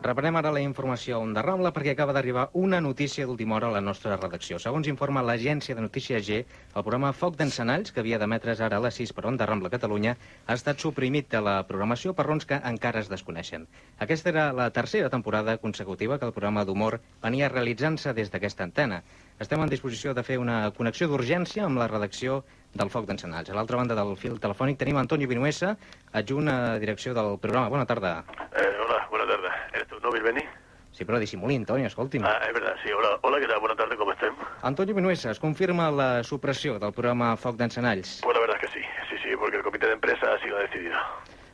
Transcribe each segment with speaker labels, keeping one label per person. Speaker 1: Reprenem ara la informació on de Rambla perquè acaba d'arribar una notícia d'última hora a la nostra redacció. Segons informa l'agència de notícies G, el programa Foc d'Encenalls, que havia d'emetre's ara a les 6 per on de Rambla Catalunya, ha estat suprimit de la programació per raons que encara es desconeixen. Aquesta era la tercera temporada consecutiva que el programa d'humor venia realitzant-se des d'aquesta antena. Estem en disposició de fer una connexió d'urgència amb la redacció del Foc d'Encenalls. A l'altra banda del fil telefònic tenim Antonio Vinuesa, adjunt a direcció del programa. Bona tarda.
Speaker 2: Eh, hola, buena tarde. ¿Eres tú, no, Bilbeni?
Speaker 1: Sí, però disimuli, Antonio, escolti'm.
Speaker 2: Ah, es verdad, sí. Hola, hola, ¿qué tal? Buena tarde, ¿cómo estén? Pues
Speaker 1: Antonio Vinuesa, es confirma la supressió del programa Foc d'Encenalls.
Speaker 2: Pues la verdad es que sí, sí, sí, porque el comité de empresa así lo ha decidido.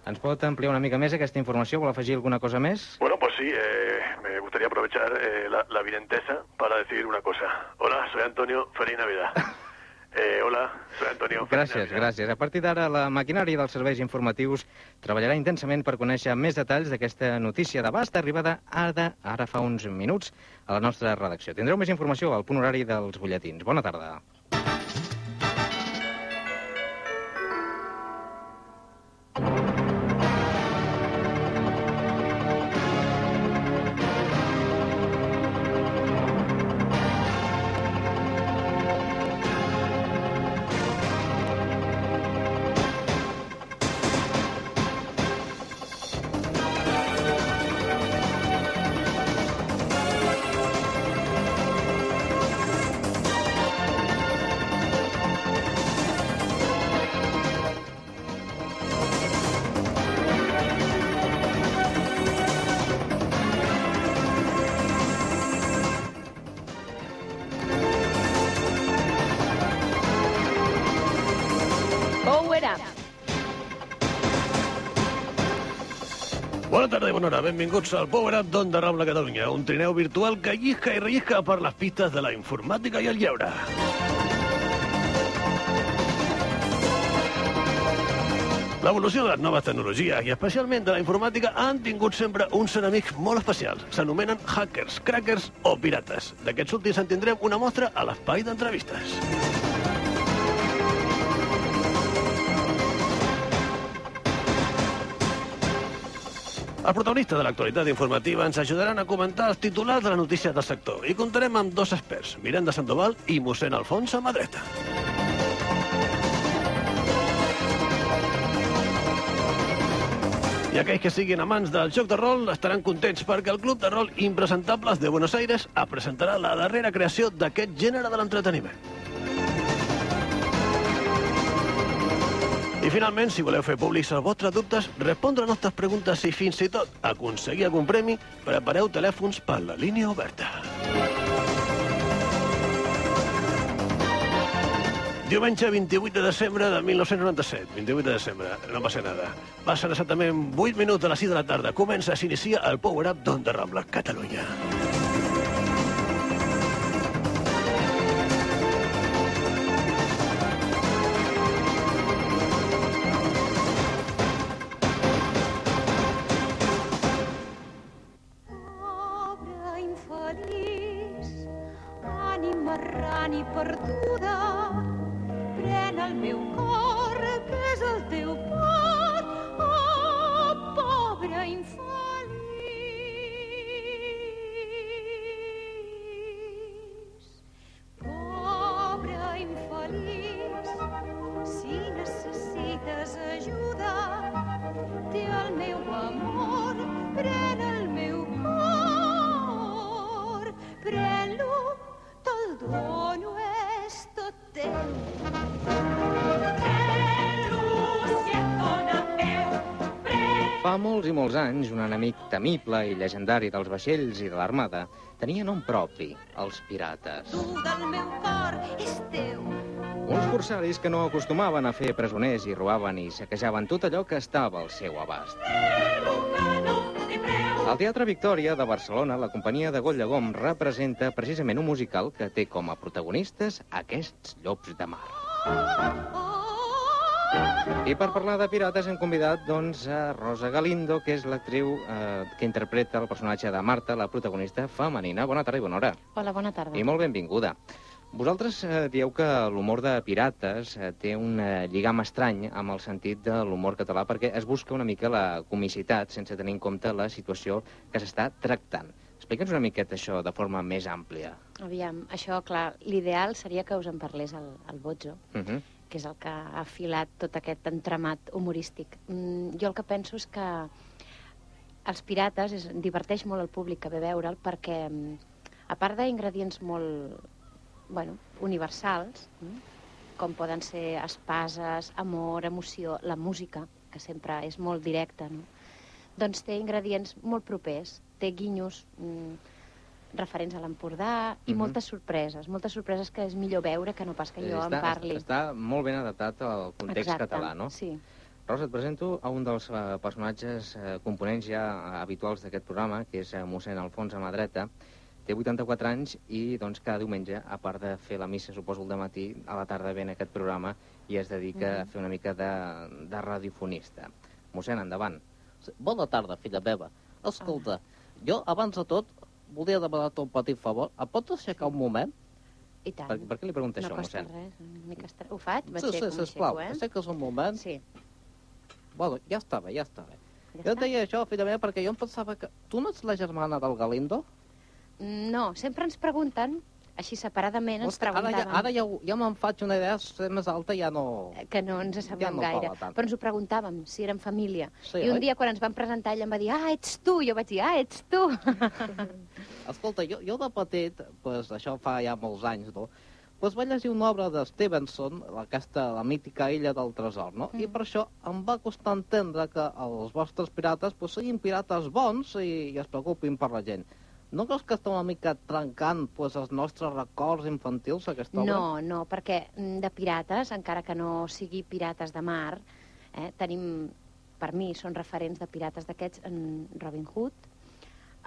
Speaker 1: Ens pot ampliar una mica més aquesta informació? Vol afegir alguna cosa més?
Speaker 2: Bueno, pues sí, eh, me gustaría aprovechar eh, la, la videntesa para decir una cosa. Hola, soy Antonio, feliz Navidad. Eh, hola, soy Antonio. feliz
Speaker 1: Gràcies,
Speaker 2: Navidad.
Speaker 1: gràcies. A partir d'ara, la maquinària dels serveis informatius treballarà intensament per conèixer més detalls d'aquesta notícia d'abast arribada ara, ara fa uns minuts a la nostra redacció. Tindreu més informació al punt horari dels butlletins. Bona tarda.
Speaker 3: Oh,
Speaker 4: Power Up.
Speaker 2: Bona tarda i bona hora. Benvinguts al Power Up d'On de Rambla Catalunya, un trineu virtual que llisca i rellisca per les pistes de la informàtica i el lleure. L'evolució de les noves tecnologies, i especialment de la informàtica, han tingut sempre uns enemics molt especials. S'anomenen hackers, crackers o pirates. D'aquests últims en tindrem una mostra a l'espai d'entrevistes. Els protagonistes de l'actualitat informativa ens ajudaran a comentar els titulars de les notícies del sector i comptarem amb dos experts, Miranda Sandoval i mossèn Alfons a mà dreta. I aquells que siguin amants del joc de rol estaran contents perquè el Club de Rol Impresentables de Buenos Aires a presentarà la darrera creació d'aquest gènere de l'entreteniment. I finalment, si voleu fer públics els vostres dubtes, respondre a nostres preguntes i fins i tot aconseguir algun premi, prepareu telèfons per la línia oberta. Diumenge 28 de desembre de 1997, 28 de desembre, no passa nada. Passen exactament 8 minuts de les 6 de la tarda. Comença, s'inicia el Power Up d'Onda Rambla, Catalunya.
Speaker 5: Pobra infeliç, ànima rana i perduda, pren el meu cor, que és el teu pot, oh, pobra infeliç. Pobra infeliç, si necessites ajuda, té el meu amor, pren el meu cor, pren-lo, te'l dono, és tot teu.
Speaker 1: Pam, Fa molts i molts anys, un enemic temible i legendari dels vaixells i de l'armada tenia nom propi, els pirates.
Speaker 5: Tu del meu cor és teu.
Speaker 1: Uns corsaris que no acostumaven a fer presoners i robaven i saquejaven tot allò que estava al seu abast. Al Teatre Victòria de Barcelona, la companyia de Goll Llegom representa precisament un musical que té com a protagonistes aquests llops de mar. I per parlar de pirates hem convidat, doncs, a Rosa Galindo, que és l'actriu eh, que interpreta el personatge de Marta, la protagonista femenina. Bona tarda i bona hora.
Speaker 4: Hola, bona tarda.
Speaker 1: I molt benvinguda. Vosaltres eh, dieu que l'humor de pirates eh, té un eh, lligam estrany amb el sentit de l'humor català perquè es busca una mica la comicitat sense tenir en compte la situació que s'està tractant. Explica'ns una miqueta això de forma més àmplia.
Speaker 4: Aviam, això, clar, l'ideal seria que us en parlés el, el Bozzo,
Speaker 1: Uh -huh.
Speaker 4: que és el que ha filat tot aquest entramat humorístic. Mm, jo el que penso és que els pirates és, diverteix molt el públic que ve a veure'l perquè, mm, a part d'ingredients molt, bueno, universals, mm, com poden ser espases, amor, emoció, la música, que sempre és molt directa, no? doncs té ingredients molt propers, té guinyos mm, referents a l'Empordà i
Speaker 1: Mhm.
Speaker 4: moltes sorpreses, moltes sorpreses que és millor veure que no pas que jo en parli.
Speaker 1: Eh, Està molt ben adaptat al context
Speaker 4: Exacte,
Speaker 1: català, no?
Speaker 4: Sí.
Speaker 1: Rosa, et presento a un dels eh, personatges eh, components ja eh, habituals d'aquest programa, que és eh, mossèn Alfons a mà dreta. Té 84 anys i doncs, cada diumenge, a part de fer la missa, suposo, el matí, a la tarda ven aquest programa i es dedica
Speaker 4: Mm. Mhm.
Speaker 1: a fer una mica de, de radiofonista. Mossèn, endavant. Ah.
Speaker 6: Sí, Bona tarda, filla meva. Escolta, jo, abans de tot, volia demanar-te un petit favor. Em pots aixecar un moment?
Speaker 4: I tant.
Speaker 1: Per, per què li pregunta
Speaker 4: no
Speaker 1: això,
Speaker 4: costa
Speaker 1: mossèn?
Speaker 4: res, una mica estra... Ho faig?
Speaker 6: sí, sí,
Speaker 4: M'aixeco,
Speaker 6: sisplau,
Speaker 4: m'aixeco,
Speaker 6: aixeques un
Speaker 4: eh?
Speaker 6: moment.
Speaker 4: Sí,
Speaker 6: Bueno, ja està bé, ja està bé.
Speaker 4: ja
Speaker 6: jo
Speaker 4: està.
Speaker 6: et deia això, filla meva, perquè jo em pensava que... Tu no ets la germana del Galindo?
Speaker 4: No, sempre ens pregunten, així separadament ens
Speaker 6: Ostres, ara ja,
Speaker 4: preguntaven
Speaker 6: ara ja, ho- ja me'n faig una idea ser més alta, ja no...
Speaker 4: que no ens
Speaker 6: Ja
Speaker 4: semblem
Speaker 6: no
Speaker 4: gaire,
Speaker 6: parla tant.
Speaker 4: però ens ho preguntàvem, si érem família.
Speaker 6: Sí,
Speaker 4: I un
Speaker 6: oi?
Speaker 4: dia, quan ens van presentar, ella em va dir, ah, ets tu, jo vaig dir, ah, ets tu.
Speaker 6: Escolta, jo, jo de petit, pues, això fa ja molts anys, no? Pues vaig llegir una obra de Stevenson, aquesta, la mítica Illa del Tresor, no?
Speaker 4: Mm.
Speaker 6: I per això em va costar entendre que els vostres pirates pues, siguin pirates bons i, i es preocupin per la gent. No creus que està una mica trencant pues, els nostres records infantils, aquesta obra?
Speaker 4: No, no, perquè mm, de pirates, encara que no sigui pirates de mar, eh, tenim, per mi, són referents de pirates d'aquests, en Robin Hood,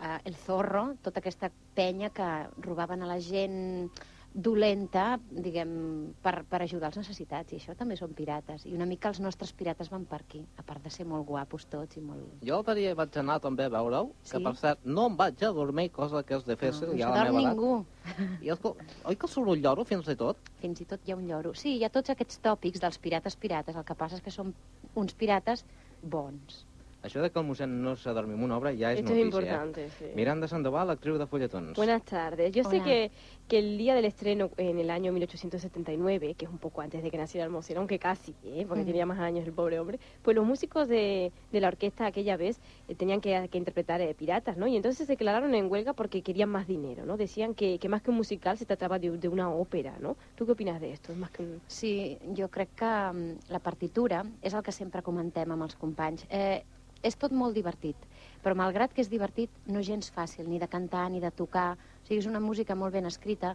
Speaker 4: eh, El Zorro, tota aquesta penya que robaven a la gent dolenta, diguem, per, per ajudar els necessitats, i això també són pirates. I una mica els nostres pirates van per aquí, a part de ser molt guapos tots i molt...
Speaker 6: Jo l'altre dia vaig anar també a veure-ho, que
Speaker 4: Sí?
Speaker 6: per cert no em vaig a dormir, cosa que és difícil,
Speaker 4: no
Speaker 6: ja
Speaker 4: s'adorm
Speaker 6: a la meva
Speaker 4: ningú.
Speaker 6: edat. I escolta, oi que surt un lloro fins i tot?
Speaker 4: Fins i tot hi ha un lloro. Sí, hi ha tots aquests tòpics dels pirates pirates. El que passa és que són uns pirates bons.
Speaker 1: Això de que el mossèn no s'adormi en una obra ja és
Speaker 3: Esto es
Speaker 1: notícia.
Speaker 3: importante, sí.
Speaker 1: Eh? Miranda Sandoval, actriu de Folletons.
Speaker 3: Buenas tardes. Yo sé
Speaker 4: Hola.
Speaker 3: que, que el día del estreno en el año 1879, que es un poco antes de que naciera el Almocén, aunque casi, ¿eh? porque
Speaker 4: Mm.
Speaker 3: tenía más años el pobre hombre, pues los músicos de, de la orquesta aquella vez eh, tenían que, que interpretar eh, piratas, ¿no? Y entonces se declararon en huelga porque querían más dinero, ¿no? Decían que, que más que un musical se trataba de, de una ópera, ¿no? ¿Tú qué opinas de esto? Es más que un...
Speaker 4: Sí, jo crec que mm, la partitura és el que sempre comentem amb els companys. Eh, és tot molt divertit, però malgrat que és divertit, no és gens fàcil, ni de cantar, ni de tocar. O sigui, és una música molt ben escrita,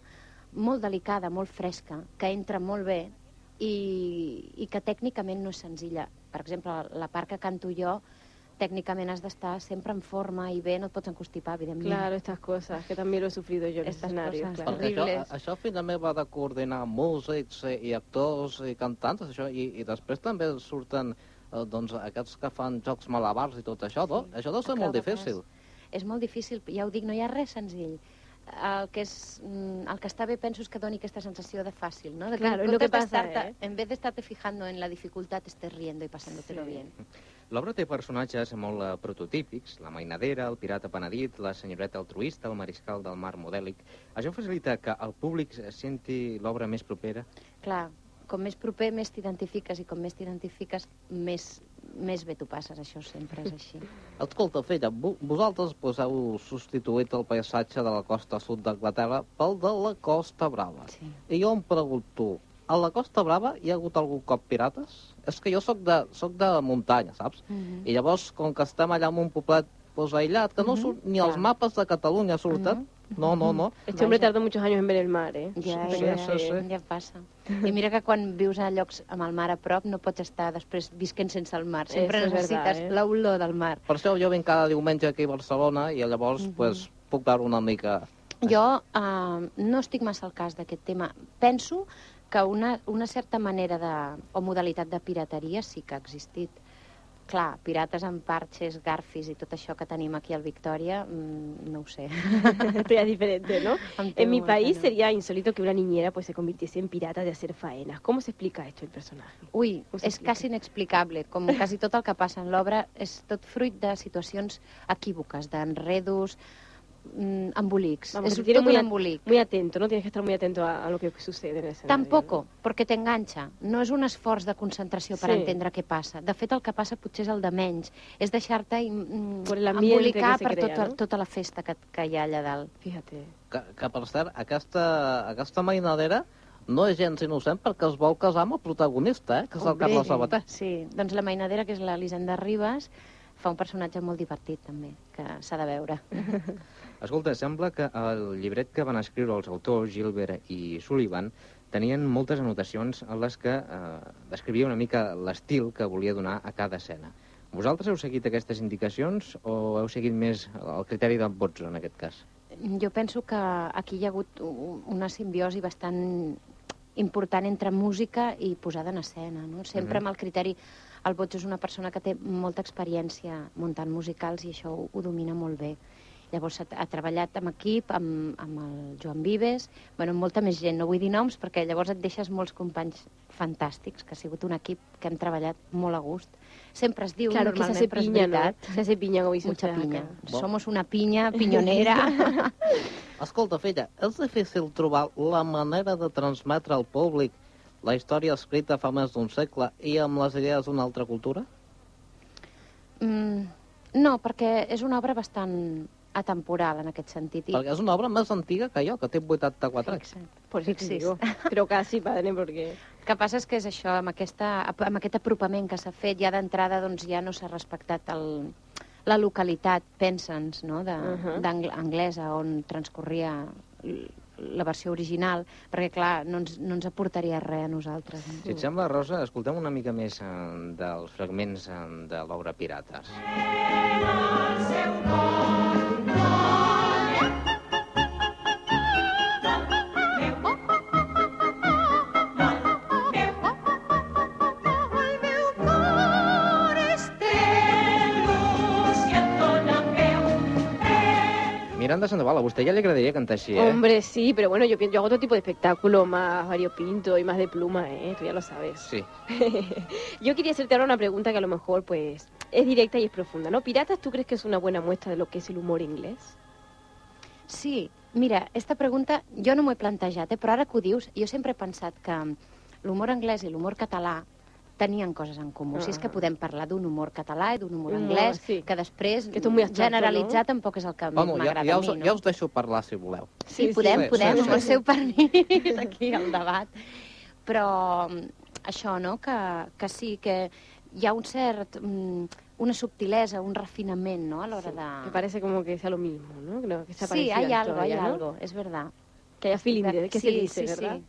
Speaker 4: molt delicada, molt fresca, que entra molt bé i, i que tècnicament no és senzilla. Per exemple, la part que canto jo, tècnicament has d'estar sempre en forma i bé, no et pots encostipar, evidentment.
Speaker 3: Claro, estas cosas, que también lo he sufrido yo en
Speaker 4: Estas
Speaker 3: estos escenarios.
Speaker 4: cosas,
Speaker 3: claro.
Speaker 4: sí.
Speaker 6: Perquè això,
Speaker 4: Horribles.
Speaker 6: a- això finalment va de coordinar músics eh, i actors i cantants, això, i, i després també surten eh, doncs, aquests que fan jocs malabars i tot això, no? Això deu ser molt
Speaker 4: Acròbates.
Speaker 6: difícil.
Speaker 4: És molt difícil, ja ho dic, no hi ha res senzill. El que, és, mm, el que està bé, penso, és que doni aquesta sensació de fàcil, no? De
Speaker 3: Claro,
Speaker 4: en
Speaker 3: es lo que
Speaker 4: comptes de
Speaker 3: pasa,
Speaker 4: estar-te-
Speaker 3: ¿eh?
Speaker 4: En vez de estarte fijando en la dificultad, te estés riendo y pasándotelo
Speaker 3: Sí.
Speaker 4: bien.
Speaker 1: L'obra té personatges molt eh, prototípics, la mainadera, el pirata penedit, la senyoreta altruista, el mariscal del mar modèlic. Això facilita que el públic eh, senti l'obra més propera?
Speaker 4: Clar, com més proper, més t'identifiques, i com més t'identifiques, més, més bé t'ho passes, això sempre és així.
Speaker 6: Escolta, filla, vo- vosaltres pues, heu substituït el paisatge de la costa sud d'Anglaterra pel de la costa brava.
Speaker 4: Sí.
Speaker 6: I jo em pregunto, a la Costa Brava hi ha hagut algun cop pirates? És que jo sóc de, soc de muntanya, saps?
Speaker 4: Mhm.
Speaker 6: I llavors, com que estem allà en un poblet pues, aïllat, que no
Speaker 4: Mhm,
Speaker 6: surt ni els
Speaker 4: clar. Mhm.
Speaker 6: mapes de Catalunya surten, no, no, eh. no,
Speaker 3: Este hombre
Speaker 4: Vaya.
Speaker 3: tardó muchos años en ver el mar, ¿eh?
Speaker 4: Ja,
Speaker 6: Sí,
Speaker 4: ja,
Speaker 6: sí,
Speaker 4: ja,
Speaker 6: sí.
Speaker 4: ja passa. I mira que quan vius a llocs amb el mar a prop no pots estar després visquent sense el mar. Sempre
Speaker 3: Eso es
Speaker 4: necessites
Speaker 3: verdad, eh?
Speaker 4: l'olor del mar.
Speaker 6: Per això jo vinc cada diumenge aquí a Barcelona i llavors
Speaker 4: Mhm.
Speaker 6: pues, puc veure una mica...
Speaker 4: Jo eh, no estic massa al cas d'aquest tema. Penso que una, una certa manera de, o modalitat de pirateria sí que ha existit. Clar, pirates amb parxes, garfis i tot això que tenim aquí al Victòria, mm, no ho sé.
Speaker 3: Esto ya es diferente, ¿no?
Speaker 4: Em
Speaker 3: En
Speaker 4: temo
Speaker 3: mi
Speaker 4: que
Speaker 3: país
Speaker 4: no.
Speaker 3: sería insólito que una niñera pues se convirtiese en pirata de hacer faenas. ¿Cómo se explica esto el personaje?
Speaker 4: Ui,
Speaker 3: Us
Speaker 4: és
Speaker 3: explico.
Speaker 4: quasi inexplicable, com quasi tot el que passa en l'obra és tot fruit de situacions equívoques, d'enredos, mm, embolics.
Speaker 3: Vamos,
Speaker 4: és
Speaker 3: que
Speaker 4: tot
Speaker 3: tiene
Speaker 4: un
Speaker 3: muy, at-
Speaker 4: embolic.
Speaker 3: muy atento, ¿no? Tienes que estar muy atento a, a lo que sucede en el escenario. ¿no?
Speaker 4: Tampoco, perquè t'enganxa. No és un esforç de concentració per
Speaker 3: Sí.
Speaker 4: entendre què passa. De fet, el que passa potser és el de menys. És deixar-te im- mm,
Speaker 3: Por el ambiente
Speaker 4: embolicar
Speaker 3: que se
Speaker 4: per
Speaker 3: crea,
Speaker 4: tota,
Speaker 3: no?
Speaker 4: tota la festa que, que hi ha allà dalt.
Speaker 3: Fíjate.
Speaker 6: Que, que per cert, aquesta, aquesta mainadera no és gens innocent perquè es vol casar amb el protagonista, eh? que és el
Speaker 4: Hombre,
Speaker 6: Carles
Speaker 4: sí.
Speaker 6: Sabater.
Speaker 4: Sí, doncs la mainadera, que és l'Elisenda Ribas, fa un personatge molt divertit, també, que s'ha de veure.
Speaker 1: Escolta, sembla que el llibret que van escriure els autors, Gilbert i Sullivan, tenien moltes anotacions en les que eh, descrivia una mica l'estil que volia donar a cada escena. Vosaltres heu seguit aquestes indicacions o heu seguit més el criteri del Bozzo, en aquest cas?
Speaker 4: Jo penso que aquí hi ha hagut u- una simbiosi bastant important entre música i posada en escena, no? Sempre amb el criteri... El Boig és una persona que té molta experiència muntant musicals i això ho, ho domina molt bé. Llavors ha, ha treballat amb equip, amb, amb el Joan Vives, bueno, amb molta més gent, no vull dir noms perquè llavors et deixes molts companys fantàstics, que ha sigut un equip que hem treballat molt a gust. Sempre es diu,
Speaker 3: Claro que se
Speaker 4: normalment,
Speaker 3: hace
Speaker 4: però és
Speaker 3: piña, ¿no?
Speaker 4: veritat,
Speaker 3: Se hace piña, como dice
Speaker 4: mucha
Speaker 3: usted acá.
Speaker 4: pinya. Somos una pinya, pinyonera...
Speaker 6: Escolta, filla, és difícil trobar la manera de transmetre al públic la història escrita fa més d'un segle i amb les idees d'una altra cultura?
Speaker 4: Mm, no, perquè és una obra bastant atemporal en aquest sentit.
Speaker 6: Perquè és una obra més antiga que jo, que té 84 anys.
Speaker 4: Fixa't.
Speaker 3: Por eso te
Speaker 4: Fixis.
Speaker 3: digo. Pero casi, padre, porque...
Speaker 4: El que passa és que és això, amb, aquesta, amb aquest apropament que s'ha fet, ja d'entrada doncs, ja no s'ha respectat el, la localitat, pensa'ns, no? de-
Speaker 6: Uh-huh.
Speaker 3: Ujú.
Speaker 4: d'ang- anglesa, on transcorria l- la versió original, perquè, clar, no ens, no ens aportaria res a nosaltres. No?
Speaker 1: Si et sembla, Rosa, escoltem una mica més eh, dels fragments eh, de l'obra Pirates.
Speaker 5: El meu cor estelo si et dóna peu.
Speaker 1: Miranda Sandoval, a vostè ja li agradaria cantar així, eh?
Speaker 3: Hombre, sí, pero bueno, yo, pi- yo hago otro tipo de espectáculo más variopinto y más de pluma, ¿eh? Tú ya lo sabes.
Speaker 1: Sí.
Speaker 3: Yo quería hacerte ahora una pregunta que a lo mejor, pues, es directa y es profunda, ¿no? ¿Piratas tú crees que es una buena muestra de lo que es el humor inglés?
Speaker 4: Sí, mira, esta pregunta jo no m'ho he plantejat, eh, però ara que ho dius, jo sempre he pensat que l'humor anglès i l'humor català tenien coses en comú. Si és que
Speaker 3: Ah.
Speaker 4: podem parlar d'un humor català i d'un humor
Speaker 3: Humor,
Speaker 4: anglès,
Speaker 3: sí.
Speaker 4: que després
Speaker 3: Que esto es muy abstracto,
Speaker 4: generalitzar
Speaker 3: ¿no?
Speaker 4: tampoc és el que a mi
Speaker 6: Bueno, ja,
Speaker 4: m'agrada
Speaker 6: ja,
Speaker 4: a
Speaker 6: us,
Speaker 4: mi, no?
Speaker 6: ja us deixo parlar, si voleu.
Speaker 4: Sí, podem,
Speaker 6: sí,
Speaker 4: podem,
Speaker 6: sí,
Speaker 4: amb
Speaker 6: sí.
Speaker 4: el seu permís, aquí al debat. Però mm, això, no?, que, que sí, que hi ha un cert... mm, una subtilesa, un refinament, no?, a l'hora
Speaker 3: Sí,
Speaker 4: de...
Speaker 3: Que parece como que sea lo mismo, ¿no? Que no- que sea
Speaker 4: Sí,
Speaker 3: parecida
Speaker 4: hay
Speaker 3: la
Speaker 4: algo, hay
Speaker 3: historia, ¿no?
Speaker 4: algo, és verdad.
Speaker 3: Que haya feeling, de- que
Speaker 4: sí,
Speaker 3: se dice,
Speaker 4: sí,
Speaker 3: ¿verdad?
Speaker 4: sí.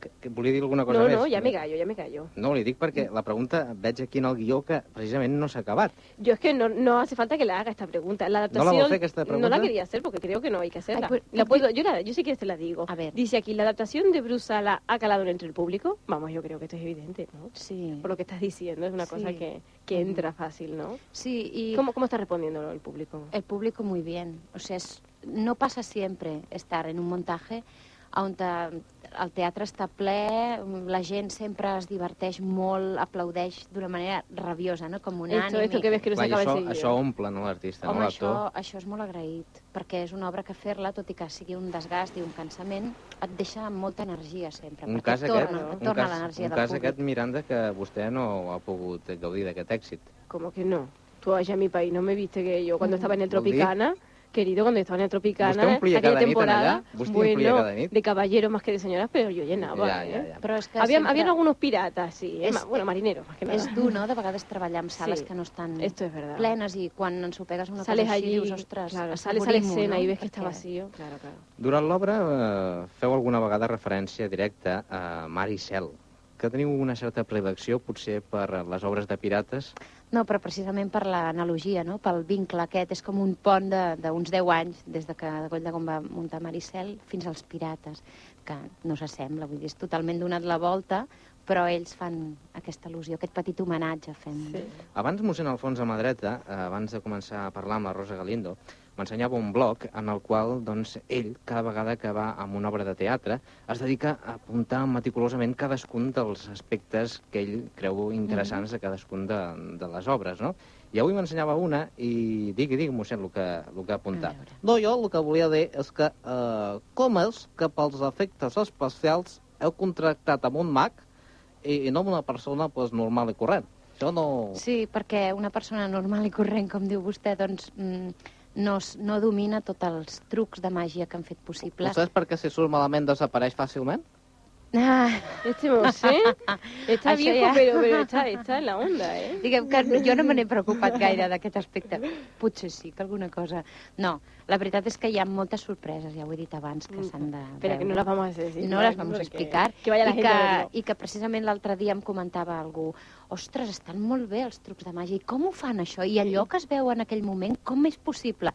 Speaker 1: Que, que volia dir alguna cosa
Speaker 3: No,
Speaker 1: més?
Speaker 3: no, ya me callo, ya me callo.
Speaker 1: No, li dic perquè la pregunta veig aquí en el guió que precisament no s'ha acabat.
Speaker 3: Yo es que no, no hace falta que la haga esta pregunta. La
Speaker 1: ¿No la
Speaker 3: adaptación,
Speaker 1: voy a hacer que esta
Speaker 3: no la
Speaker 1: pregunta?
Speaker 3: quería hacer porque creo que no hay que hacerla.
Speaker 4: Ay, pues,
Speaker 3: La
Speaker 4: pues,
Speaker 3: puedo- yo, la- yo si quieres te la digo.
Speaker 4: A ver.
Speaker 3: Dice aquí, la adaptación de Brusala ha calado entre el público. Vamos, yo creo que esto es evidente, ¿no?
Speaker 4: Sí,
Speaker 3: Por lo que estás diciendo, es una
Speaker 4: Sí.
Speaker 3: cosa que, que entra fácil, ¿no?
Speaker 4: sí, y
Speaker 3: ¿Cómo, ¿Cómo está respondiendo el público?
Speaker 4: el público muy bien. O sea, es- no pasa siempre estar en un montaje on te- el teatre està ple, la gent sempre es diverteix molt, aplaudeix d'una manera rabiosa, no? com un
Speaker 3: Esto,
Speaker 4: ànime.
Speaker 3: esto que ves que no se
Speaker 1: i
Speaker 3: acaba
Speaker 1: això,
Speaker 3: enseguida.
Speaker 1: això omple, no, l'artista, no,
Speaker 4: Home, això,
Speaker 1: l'actor?
Speaker 4: això és molt agraït, perquè és una obra que fer-la, tot i que sigui un desgast i un cansament, et deixa amb molta energia sempre,
Speaker 1: Un
Speaker 4: perquè
Speaker 1: cas
Speaker 4: et
Speaker 1: aquest,
Speaker 4: torna, et
Speaker 1: un
Speaker 4: torna
Speaker 1: cas,
Speaker 4: l'energia
Speaker 1: un
Speaker 4: del
Speaker 1: cas
Speaker 4: públic.
Speaker 1: aquest, Miranda, que vostè no ha pogut gaudir d'aquest èxit.
Speaker 3: Como que no. Tú allá en mi país no me viste que yo cuando
Speaker 4: Mm.
Speaker 3: estaba en el
Speaker 1: Vol dir-
Speaker 3: Tropicana, querido, cuando estaba en la Tropicana,
Speaker 6: Vostè omplia
Speaker 3: aquella
Speaker 6: cada nit en
Speaker 3: temporada,
Speaker 6: allà? Vostè omplia
Speaker 3: bueno,
Speaker 6: cada nit?
Speaker 3: de caballero más que de señoras, pero yo llenaba,
Speaker 6: Ja, ja,
Speaker 3: ¿eh?
Speaker 6: ja.
Speaker 4: Però és que
Speaker 3: Había,
Speaker 4: sempre
Speaker 3: habían algunos piratas, sí, eh,
Speaker 4: Es-
Speaker 3: ma- bueno, marineros, más que nada.
Speaker 4: és dur, no?, de vegades treballar en sales
Speaker 3: Sí.
Speaker 4: que no estan
Speaker 3: Esto es verdad.
Speaker 4: plenes i quan ensopegues una
Speaker 3: sales
Speaker 4: cosa així
Speaker 3: allí,
Speaker 4: dius, ostres,
Speaker 3: claro, sales a la
Speaker 4: assaborim-ho,
Speaker 3: escena
Speaker 4: no?
Speaker 3: y ves que está
Speaker 4: Perquè-
Speaker 3: vacío. Claro, claro.
Speaker 1: Durant l'obra eh, feu alguna vegada referència directa a Mar i Cel, que teniu una certa predilecció potser per les obres de pirates.
Speaker 4: No, però precisament per l'analogia, no? pel vincle aquest. És com un pont de- d'uns 10 anys, des de que Goll de Gom va muntar Maricel fins als pirates, que no s'assembla, vull dir, és totalment donat la volta, però ells fan aquesta al·lusió, aquest petit homenatge fem.
Speaker 3: Sí.
Speaker 1: Abans mossèn Alfons a mà dreta, eh, abans de començar a parlar amb la Rosa Galindo, m'ensenyava un blog en el qual doncs, ell, cada vegada que va a una obra de teatre, es dedica a apuntar meticulosament cadascun dels aspectes que ell creu interessants
Speaker 4: Mhm.
Speaker 1: de cadascun de, de les obres, no? I avui m'ensenyava una i digui, digui, mossèn, el que, el que ha
Speaker 4: A
Speaker 1: apuntat.
Speaker 4: veure.
Speaker 6: No, jo el que volia dir és que eh, com és que pels efectes especials heu contractat amb un mag i, i no amb una persona pues, normal i corrent? Això no...
Speaker 4: Sí, perquè una persona normal i corrent, com diu vostè, doncs mm, no, s- no domina tots els trucs de màgia que han fet possible.
Speaker 6: Potser és perquè si surt malament desapareix fàcilment?
Speaker 4: Ah,
Speaker 3: Este Mosé está
Speaker 4: Això
Speaker 3: viejo,
Speaker 4: ja.
Speaker 3: pero, pero está, está en la onda, ¿eh?
Speaker 4: Diguem que no- jo no me n'he preocupat gaire d'aquest aspecte. Potser sí que alguna cosa... No, la veritat és que hi ha moltes sorpreses, ja ho he dit abans, que s'han de
Speaker 3: Pero Mm. que no las vamos a decir.
Speaker 4: no
Speaker 3: ¿vale?
Speaker 4: les vam
Speaker 3: Porque-
Speaker 4: explicar
Speaker 3: Que vaya la
Speaker 4: i,
Speaker 3: gente
Speaker 4: que,
Speaker 3: a verlo.
Speaker 4: i que precisament l'altre dia em comentava algú ostres, estan molt bé els trucs de màgia i com ho fan això? I allò que es veu en aquell moment com és possible?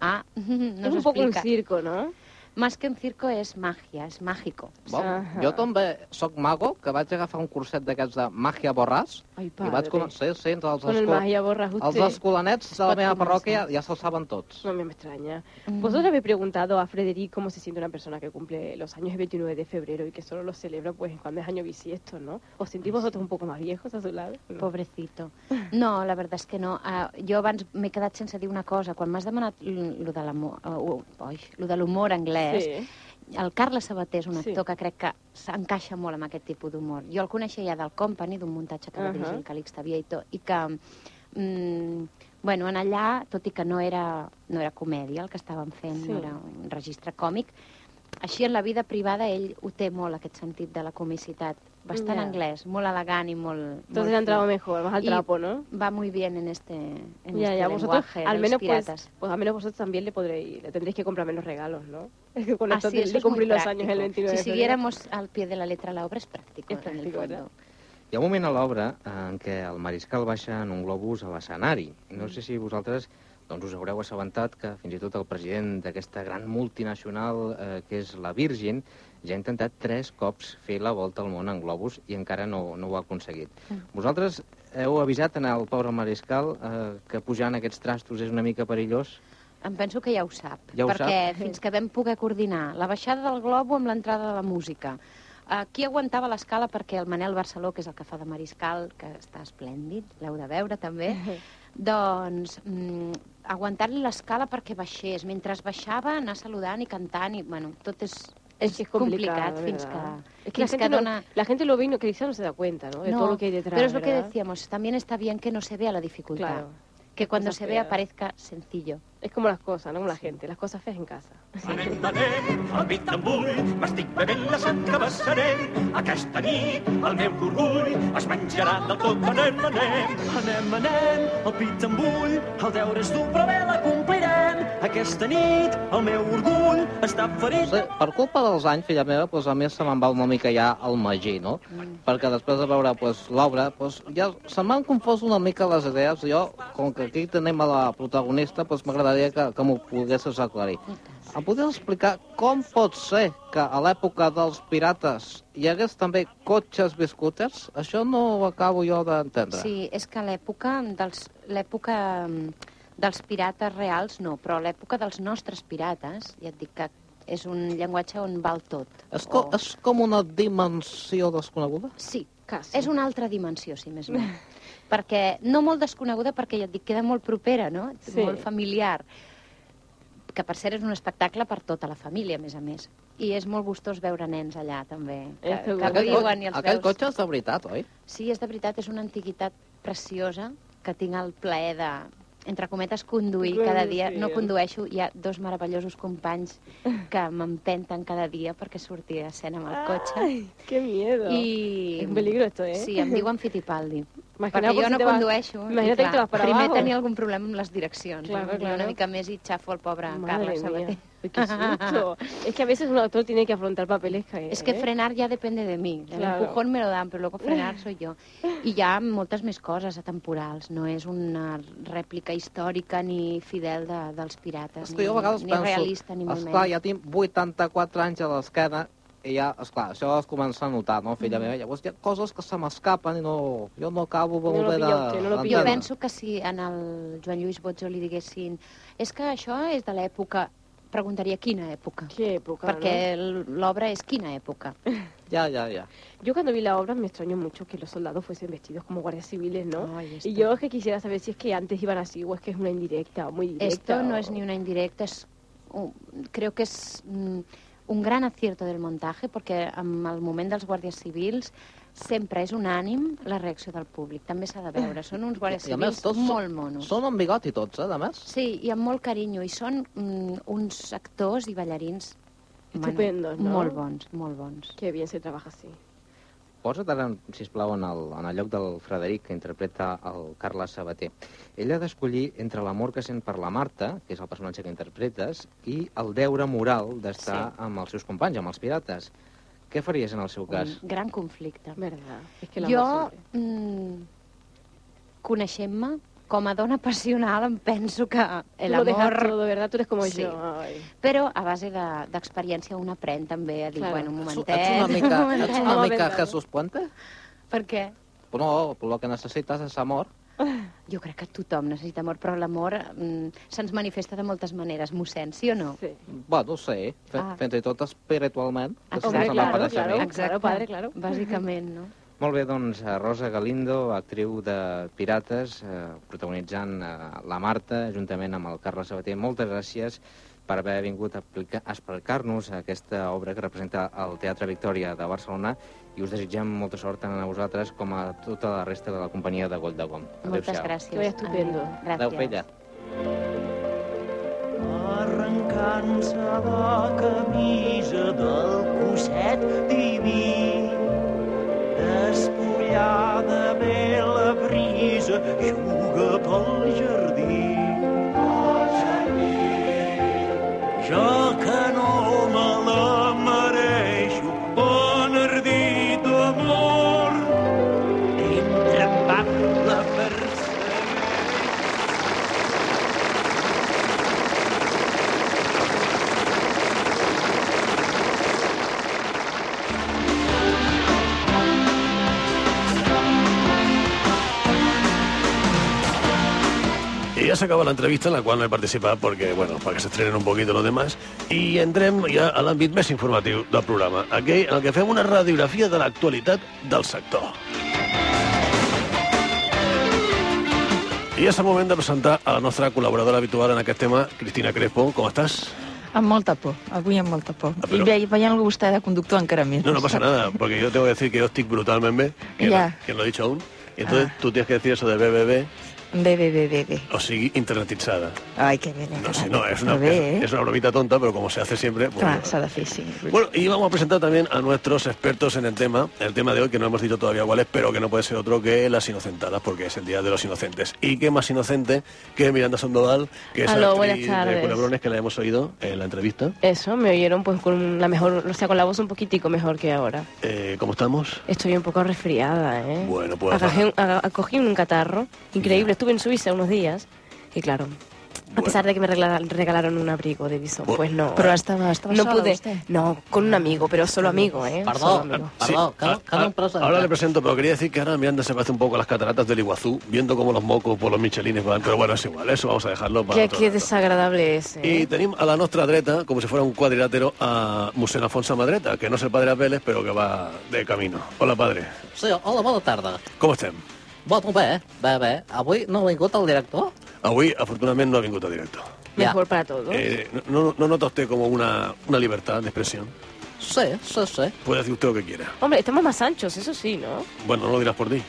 Speaker 4: Ah, no
Speaker 3: es un poco un
Speaker 4: s'explica.
Speaker 3: circo, ¿no?
Speaker 4: Más que un circo es magia, es mágico.
Speaker 6: Bon,
Speaker 3: Ahà.
Speaker 6: jo també sóc mago, que vaig agafar un curset d'aquests de màgia borràs
Speaker 3: Ai,
Speaker 6: i vaig
Speaker 3: padre.
Speaker 6: començar sí, entre els,
Speaker 3: Con el
Speaker 6: esco...
Speaker 3: magia borras usted.
Speaker 6: els escolanets de la
Speaker 3: pot
Speaker 6: meva
Speaker 3: començar.
Speaker 6: parròquia ja se'ls saben tots.
Speaker 3: No me extraña.
Speaker 4: Mm.
Speaker 3: ¿Vosotros habéis preguntado a Frederic cómo se siente una persona que cumple los años el 29 de febrero y que solo los celebra pues cuando es año bisiesto, ¿no? ¿Os sentís vosotros un poco más viejos a su lado? ¿No?
Speaker 4: Pobrecito. No, la veritat és que no. Uh, jo abans m'he quedat sense dir una cosa. Quan m'has demanat l- lo de l'amo- uh, ui, lo de l'humor anglès,
Speaker 3: Sí.
Speaker 4: el Carles Sabater és un
Speaker 3: Sí.
Speaker 4: actor que crec que s'encaixa molt amb aquest tipus d'humor. Jo el coneixia ja del Company, d'un muntatge que va
Speaker 3: Ahà.
Speaker 4: dirigir el Calixte Vieto, i que... Mm, bueno, en allà, tot i que no era, no era comèdia el que estàvem fent,
Speaker 3: Sí.
Speaker 4: no era un registre còmic, així en la vida privada ell ho té molt, aquest sentit de la comicitat. Bastant
Speaker 3: Ja.
Speaker 4: anglés, molt elegant i molt...
Speaker 3: Entonces
Speaker 4: molt
Speaker 3: ha
Speaker 4: fi.
Speaker 3: entrado mejor, más al
Speaker 4: Y-
Speaker 3: trapo, ¿no?
Speaker 4: va muy bien en este, en
Speaker 3: ya,
Speaker 4: este
Speaker 3: ya, vosotros,
Speaker 4: lenguaje
Speaker 3: al
Speaker 4: de
Speaker 3: menos
Speaker 4: los
Speaker 3: pues,
Speaker 4: piratas.
Speaker 3: pues al menos vosotros también le podréis, le tendréis que comprar menos regalos, ¿no? Es que con
Speaker 4: Ah,
Speaker 3: esto
Speaker 4: sí,
Speaker 3: de-
Speaker 4: eso
Speaker 3: de
Speaker 4: es muy
Speaker 3: cumplir los años
Speaker 4: práctico.
Speaker 3: el 29 de
Speaker 4: Si
Speaker 3: febrero.
Speaker 4: siguiéramos al pie de la letra la obra, es práctico.
Speaker 3: Es
Speaker 4: en el
Speaker 3: práctico,
Speaker 4: fondo.
Speaker 3: ¿verdad?
Speaker 1: Hi ha un moment a l'obra eh, en què el mariscal baixa en un globus a l'escenari. I No sé si vosaltres doncs, us haureu assabentat que fins i tot el president d'aquesta gran multinacional eh, que és la Virgin ja ha intentat tres cops fer la volta al món en globus i encara no, no ho ha aconseguit. Vosaltres heu avisat en el pobre mariscal eh, que pujar en aquests trastos és una mica perillós?
Speaker 4: Em penso que ja ho sap.
Speaker 1: Ja ho
Speaker 4: perquè fins que vam poder coordinar la baixada del globo amb l'entrada de la música, eh, qui aguantava l'escala perquè el Manel Barceló, que és el que fa de Mariscal, que està esplèndid, l'heu de veure també, doncs mm, aguantant-li l'escala perquè baixés. Mentre baixava, anar saludant i cantant i, bueno, tot és,
Speaker 3: Es que es complicado,
Speaker 4: fins que...
Speaker 3: ¿verdad? Es que la
Speaker 4: fins
Speaker 3: gente,
Speaker 4: que dona...
Speaker 3: no, la gente lo ve y no, que quizás no se da cuenta, ¿no? De todo lo que hay detrás.
Speaker 4: Pero es lo que
Speaker 3: ¿verdad?
Speaker 4: decíamos, también está bien que no se vea la dificultad.
Speaker 3: Claro.
Speaker 4: Que cuando
Speaker 3: Cosas
Speaker 4: se vea
Speaker 3: feas.
Speaker 4: parezca sencillo.
Speaker 3: Es como las cosas, ¿no? Como la gente, las cosas feas en casa.
Speaker 7: Anem, anem, a Pitambul, m'estic bevent la sang que vessarem. Aquesta nit el meu orgull es menjarà de tot. Anem, anem, anem, anem, al Pitambull, el deure és dur, però bé l'acomplirem. Aquesta nit el meu orgull està ferit.
Speaker 6: Sí, per culpa dels anys, filla meva, doncs, a mi se me'n va una mica ja el magí, no? Perquè després de veure doncs, l'obra, doncs, ja se m'han confós una mica les idees. Jo, com que aquí tenim a la protagonista, doncs, m'agradaria que, que m'ho poguessis aclarir. Em podries explicar com pot ser que a l'època dels pirates hi hagués també cotxes biscúters? Això no ho acabo jo d'entendre.
Speaker 4: Sí, és que l'època dels, l'època mm, dels pirates reals no, però l'època dels nostres pirates, ja et dic que és un llenguatge on val tot.
Speaker 6: És, co
Speaker 4: O-
Speaker 6: és com una dimensió desconeguda?
Speaker 4: Sí,
Speaker 3: Casi.
Speaker 4: és una altra dimensió, si més no. perquè, no molt desconeguda, perquè ja et dic, queda molt propera, no?
Speaker 3: Sí.
Speaker 4: Molt familiar. Que, per cert, és un espectacle per tota la família, a més a més. I és molt gustós veure nens allà, també. Que,
Speaker 3: Eh, segur.
Speaker 4: que
Speaker 3: Aquell
Speaker 6: co-
Speaker 4: riuen i els
Speaker 6: aquell
Speaker 4: veus.
Speaker 6: cotxe és de veritat, oi?
Speaker 4: Sí, és de veritat, és una antiguitat preciosa que tinc el plaer de entre cometes, conduir
Speaker 3: Conduir,
Speaker 4: cada dia. No
Speaker 3: sí.
Speaker 4: condueixo, hi ha dos meravellosos companys que m'empenten cada dia perquè surti a escena amb el cotxe.
Speaker 3: Ay, qué miedo.
Speaker 4: I...
Speaker 3: Es un peligro esto, ¿eh?
Speaker 4: Sí, em diuen Fittipaldi.
Speaker 3: Imagina't
Speaker 4: Perquè
Speaker 3: por
Speaker 4: jo
Speaker 3: si
Speaker 4: no
Speaker 3: te vas-
Speaker 4: condueixo. i
Speaker 3: Imagínate que
Speaker 4: clar,
Speaker 3: te vas para
Speaker 4: primer
Speaker 3: abajo.
Speaker 4: tenia algun problema amb les direccions.
Speaker 3: Claro,
Speaker 4: no? Jo
Speaker 3: claro.
Speaker 4: Una mica més i xafo el pobre
Speaker 3: Madre
Speaker 4: Carles Sabater.
Speaker 3: mía. Uy, qué susto. es que a veces un autor tiene que afrontar papeles que...
Speaker 4: Es que
Speaker 3: ¿eh?
Speaker 4: frenar ya depende de mi. El
Speaker 3: Claro.
Speaker 4: empujón me lo dan, pero luego frenar soy yo. I hi ha moltes més coses atemporals. No és una rèplica històrica ni fidel de, dels pirates.
Speaker 6: És que jo a vegades
Speaker 4: ni,
Speaker 6: penso,
Speaker 4: Ni realista, ni molt
Speaker 6: Esclar,
Speaker 4: menys.
Speaker 6: ja tinc 84 anys a l'esquena i ja, esclar, això es comença a notar, no,
Speaker 4: Mm.
Speaker 6: filla meva? Llavors hi ha coses que se m'escapen i no, jo no acabo
Speaker 3: No
Speaker 6: de...
Speaker 3: lo
Speaker 6: voler
Speaker 3: pillo,
Speaker 6: de-
Speaker 3: que no lo
Speaker 4: Jo
Speaker 3: pillo.
Speaker 6: d'entendre.
Speaker 4: penso que si en el Joan Lluís Botzo li diguessin és que això és de l'època, preguntaria quina època.
Speaker 3: Qué época, ¿no?
Speaker 4: Perquè l'obra és quina època.
Speaker 6: Ja, ja, ja.
Speaker 3: Yo cuando vi la obra me extrañó mucho que los soldados fuesen vestidos como guardias civiles, ¿no?
Speaker 4: Ai,
Speaker 3: y
Speaker 4: esto-
Speaker 3: yo es que quisiera saber si es que antes iban así o es que es una indirecta o muy directa.
Speaker 4: Esto no
Speaker 3: o-
Speaker 4: es ni una indirecta, es un- creo que es mm, un gran acierto del montaje perquè en el moment dels guàrdies civils sempre és unànim la reacció del públic, també s'ha de veure. Són uns guàrdies
Speaker 6: I a més,
Speaker 4: civils
Speaker 6: tots
Speaker 4: molt monos.
Speaker 6: Són amb bigot i tots, eh, a més.
Speaker 4: Sí, i amb molt carinyo. I són mm, uns actors i ballarins bueno,
Speaker 3: Estupendos, no?
Speaker 4: molt bons, molt bons.
Speaker 3: Qué bien se trabaja así.
Speaker 1: Posa't ara, sisplau, en el, en el lloc del Frederic, que interpreta el Carles Sabater. Ell ha d'escollir entre l'amor que sent per la Marta, que és el personatge que interpretes, i el deure moral d'estar
Speaker 4: Sí.
Speaker 1: sí. amb els seus companys, amb els pirates. Què faries en el seu cas?
Speaker 4: Un gran conflicte.
Speaker 3: Verdad. Es que la
Speaker 4: Jo, mm, coneixent-me, com a dona passional em penso que
Speaker 3: el lo dejas
Speaker 4: l'amor
Speaker 3: todo, ¿verdad? Tú eres como
Speaker 4: Sí.
Speaker 3: yo. Ay.
Speaker 4: Però a base de- d'experiència de, un aprèn també a dir,
Speaker 3: Claro.
Speaker 4: claro. bueno, un
Speaker 6: Ets
Speaker 4: momentet...
Speaker 6: una mica,
Speaker 4: momentet.
Speaker 6: ets una
Speaker 3: Vamos a
Speaker 6: mica
Speaker 3: pensar-ho.
Speaker 6: Jesús Puente?
Speaker 4: Per què?
Speaker 6: Però no, però el que necessites és amor.
Speaker 4: Jo crec que tothom necessita amor, però l'amor mm, se'ns manifesta de moltes maneres, mossèn, sí o no?
Speaker 3: Sí.
Speaker 6: Doncs Bueno, sí, fe,
Speaker 4: Ah.
Speaker 6: fins i tot espiritualment. que
Speaker 4: Exacte.
Speaker 6: se'ns
Speaker 4: Hombre, claro,
Speaker 6: apareix a mi.
Speaker 3: claro. padre, claro.
Speaker 4: Bàsicament, no?
Speaker 1: Molt bé, doncs, eh, Rosa Galindo, actriu de Pirates, eh, protagonitzant eh, la Marta, juntament amb el Carles Sabater. Moltes gràcies per haver vingut a aplica- a explicar-nos aquesta obra que representa el Teatre Victòria de Barcelona i us desitgem molta sort tant a vosaltres com a tota la resta de la companyia de Gold de Gom.
Speaker 4: Moltes gràcies.
Speaker 3: Que vagi estupendo.
Speaker 4: Adéu.
Speaker 6: Adéu,
Speaker 4: Gràcies.
Speaker 6: filla.
Speaker 7: arrencant-se de camisa del coset diví. Despullada ve la brisa, juga pel jardí. Jo que no me la mereixo, bon ardit amor, entre en va la persegueix.
Speaker 2: Y ya se acaba la entrevista en la cual no he participado porque, bueno, para que se estrenen un poquito los demás. I entrem ja a l'àmbit més informatiu del programa, aquell en el que fem una radiografia de l'actualitat del sector. I és el moment de presentar a la nostra col·laboradora habitual en aquest tema, Cristina Crespo. Com estàs?
Speaker 8: Amb molta por, avui amb molta por.
Speaker 2: Ah,
Speaker 8: Ah,
Speaker 2: però-
Speaker 8: però... I ve- veient-lo vostè de conductor encara més.
Speaker 2: No, no pasa nada, porque yo tengo que decir que yo estoy brutalmente, que,
Speaker 8: Ya.
Speaker 2: no, que no lo he dicho aún. Y entonces
Speaker 8: Ah.
Speaker 2: tú tienes que decir eso de BBB,
Speaker 8: Bé, bé, bé, bé, bé.
Speaker 2: o sigui, internetizada.
Speaker 8: Ai, que bé.
Speaker 2: No sé, no, es una,
Speaker 8: Però bé, eh?
Speaker 2: es, una bromita tonta, pero como se hace siempre... pues,
Speaker 8: Clar,
Speaker 2: bueno.
Speaker 8: s'ha de fer, sí.
Speaker 2: Bueno, y vamos a presentar también a nuestros expertos en el tema, el tema de hoy que no hemos dicho todavía cuál es, pero que no puede ser otro que las inocentadas, porque es el Día de los Inocentes. Y qué más inocente que Miranda Sandoval, que es
Speaker 3: Aló,
Speaker 2: actriz
Speaker 3: buenas
Speaker 2: de
Speaker 3: tardes.
Speaker 2: Culebrones, que la hemos oído en la entrevista.
Speaker 3: Eso, me oyeron pues con la mejor, o sea, con la voz un poquitico mejor que ahora.
Speaker 2: Eh, ¿Cómo estamos?
Speaker 3: Estoy un poco resfriada, ¿eh?
Speaker 2: Bueno, pues,
Speaker 3: Agajé
Speaker 2: va.
Speaker 3: un- aga- Acogí un catarro increíble. Estuve en Suiza unos días y claro, a
Speaker 2: Bueno.
Speaker 3: pesar de que me regla- regalaron un abrigo de visón,
Speaker 2: Bu-
Speaker 3: pues no.
Speaker 8: Però estava, estava
Speaker 3: no
Speaker 8: sola,
Speaker 3: pude.
Speaker 8: vostè?
Speaker 3: No, con un amigo, pero solo amigo, ¿eh? Solo
Speaker 6: Perdó,
Speaker 3: amigo.
Speaker 2: Sí,
Speaker 6: perdó, que,
Speaker 2: ah,
Speaker 6: que no
Speaker 2: ah,
Speaker 6: em presenta.
Speaker 2: ahora le presento, pero quería decir que ahora Miranda se parece un poco a las cataratas del Iguazú, viendo cómo los mocos por los michelines van, pero bueno, es igual, eso vamos a dejarlo para
Speaker 3: Qué,
Speaker 2: otro
Speaker 3: qué
Speaker 2: rato.
Speaker 3: desagradable es. ¿eh?
Speaker 2: Y tenemos a la nuestra dreta, como si fuera un cuadrilátero, a Musén Afonso Madreta, que no es el padre Apeles, pero que va de camino. Hola, padre.
Speaker 6: Sí, hola, bona tarda.
Speaker 2: Com estem?
Speaker 6: Bueno, bé, bé, bé. Avui no ha vingut el director?
Speaker 2: Avui, afortunadament, no ha vingut a directo.
Speaker 3: Mejor para todos.
Speaker 2: Eh, no, no nota usted como una, una libertad de expresión?
Speaker 6: Sí, sí, sí.
Speaker 2: Puede decir usted lo que quiera.
Speaker 3: Hombre, estamos más anchos, eso sí, ¿no?
Speaker 2: Bueno, no lo dirás por ti.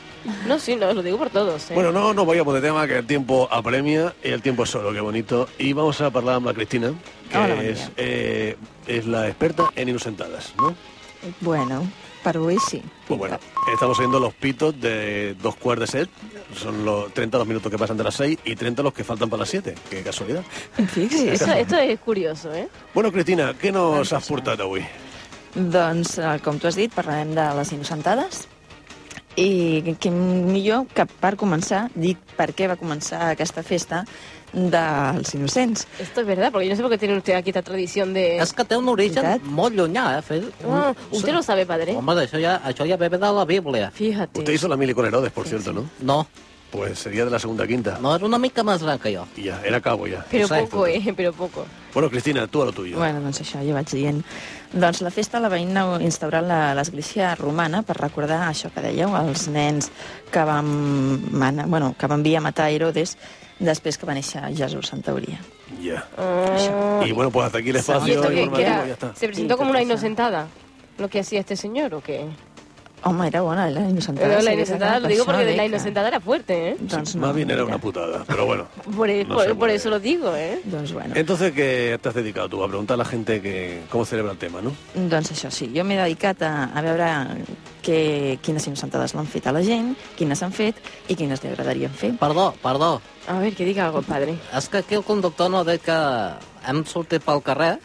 Speaker 3: No, sí, no, lo digo por todos. ¿eh?
Speaker 2: Bueno, no nos vayamos de tema, que el tiempo apremia y el tiempo es solo, qué bonito. Y vamos a hablar con la Cristina, que
Speaker 8: Hola, bon
Speaker 2: es,
Speaker 8: dia.
Speaker 2: eh, es la experta en inusentadas, ¿no?
Speaker 8: Bueno, per avui sí.
Speaker 2: Pues bueno, estamos oyendo los pitos de dos cuartos de set, son los 30 los minutos que pasan de las 6 y 30 los que faltan para las 7, qué casualidad.
Speaker 3: Sí,
Speaker 8: Fixi's.
Speaker 3: esto, esto es pues, curioso, ¿eh?
Speaker 2: Bueno, Cristina, què nos
Speaker 8: Doncs
Speaker 2: has portat avui?
Speaker 8: Doncs, eh, com tu has dit, parlarem de les innocentades. I que millor que per començar, dic per què va començar aquesta festa dels innocents.
Speaker 3: Esto es verdad, porque yo no sé por qué tiene usted aquí esta tradición de...
Speaker 6: És que té un origen
Speaker 8: Veritat?
Speaker 6: molt llunyà, eh? Fer...
Speaker 3: Ah, usted lo sabe, padre.
Speaker 6: Home, això ja, això ja ve de la Bíblia.
Speaker 3: Fíjate.
Speaker 2: Usted hizo la mili con Herodes, por cierto, ¿no?
Speaker 6: No,
Speaker 2: Pues sería de la segunda quinta.
Speaker 6: no, era una mica més gran que jo.
Speaker 2: Y ya, era cabo ya.
Speaker 3: Pero
Speaker 6: Exacto.
Speaker 3: poco, ¿eh? Pero poco.
Speaker 2: Bueno, Cristina, tú a lo tuyo.
Speaker 8: Bueno, doncs això ja vaig dient. Doncs la festa la va inau- instaurar la- l'Església Romana per recordar això que dèieu, els nens que van, mana- bueno, que van enviar a matar Herodes després que va néixer Jesús, en teoria.
Speaker 2: Ya.
Speaker 3: Ah,
Speaker 2: Y bueno, pues hasta aquí el
Speaker 3: ¿Y
Speaker 2: espacio
Speaker 3: esto qué, qué
Speaker 2: informativo,
Speaker 3: era?
Speaker 2: ya está.
Speaker 3: ¿Se presentó
Speaker 8: Sí,
Speaker 3: como una
Speaker 8: qué pasa.
Speaker 3: inocentada? ¿Lo que hacía este señor o qué?
Speaker 8: Home, era bona, era innocentada.
Speaker 3: Pero la
Speaker 8: s'havia
Speaker 3: inocentada,
Speaker 8: cagat
Speaker 3: lo digo
Speaker 8: per això,
Speaker 3: porque de la
Speaker 8: Beca.
Speaker 3: inocentada era fuerte, ¿eh?
Speaker 8: Doncs no,
Speaker 2: Más bien era
Speaker 8: mira.
Speaker 2: una putada, pero bueno.
Speaker 3: Por, e-
Speaker 2: No
Speaker 3: por-
Speaker 2: sé,
Speaker 3: por
Speaker 2: bueno,
Speaker 3: eso lo digo, ¿eh?
Speaker 8: Doncs bueno.
Speaker 2: Entonces, ¿qué te has dedicado tú? A preguntar a la gente que, cómo celebra el tema, ¿no?
Speaker 8: Doncs això sí, jo m'he dedicat a, a veure que, quines innocentades l'han fet a la gent, quines han fet i quines li agradarien fer.
Speaker 6: Perdó, perdó.
Speaker 3: A ver, que diga algo, padre.
Speaker 6: És que aquí el conductor no ha dit que hem sortit pel carrer,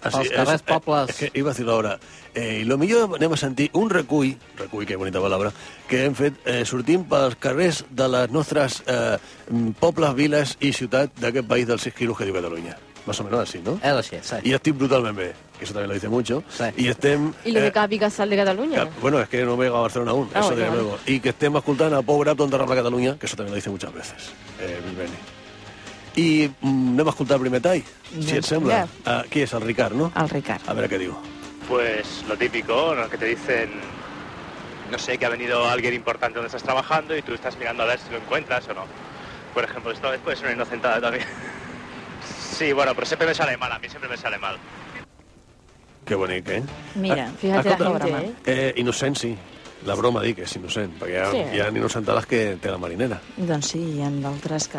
Speaker 6: pels carrers,
Speaker 2: eh,
Speaker 6: pobles...
Speaker 2: és que iba a decirlo ahora. Eh, I lo millor anem a sentir un recull, recull, que bonita paraula, que hem fet eh, sortint pels carrers de les nostres eh, mm, pobles, viles i ciutat d'aquest país dels 6 quilos que diu Catalunya. Más o menos así, ¿no?
Speaker 6: Era així, sí.
Speaker 2: Y estem brutalment bé, que eso también lo dice mucho.
Speaker 6: Sí.
Speaker 2: I estem...
Speaker 3: ¿Y lo
Speaker 2: eh,
Speaker 3: de Capica Sal de Cataluña?
Speaker 2: Cap- Bueno, es que no me he llegado a Barcelona aún,
Speaker 3: Ah,
Speaker 2: eso
Speaker 3: bueno,
Speaker 2: de
Speaker 3: vale.
Speaker 2: nuevo. Y que estemos escuchando a Pobre Upton de Rambla Cataluña, que eso también lo dice muchas veces, eh, Bill Benny. I mm, anem a escoltar primer tall, si
Speaker 8: Ja.
Speaker 2: et sembla.
Speaker 8: Ja.
Speaker 2: Ah, qui és, el Ricard, no?
Speaker 8: El Ricard.
Speaker 2: A veure què diu.
Speaker 9: Pues lo típico, ¿no? que te dicen, no sé, que ha venido alguien importante donde estás trabajando y tú estás mirando a ver si lo encuentras o no. Por ejemplo, esta vez puede ser una inocentada también. Sí, bueno, pero siempre me sale mal, a mí siempre me sale mal.
Speaker 2: Que bonic, eh?
Speaker 8: Mira,
Speaker 3: Fíjate la
Speaker 8: escolta,
Speaker 3: gente,
Speaker 8: broma.
Speaker 3: ¿eh?
Speaker 2: eh innocent, sí. La broma dic que és innocent, perquè hi ha,
Speaker 3: Sí.
Speaker 2: hi ha innocentades que té la marinera.
Speaker 8: Doncs sí, hi ha d'altres que...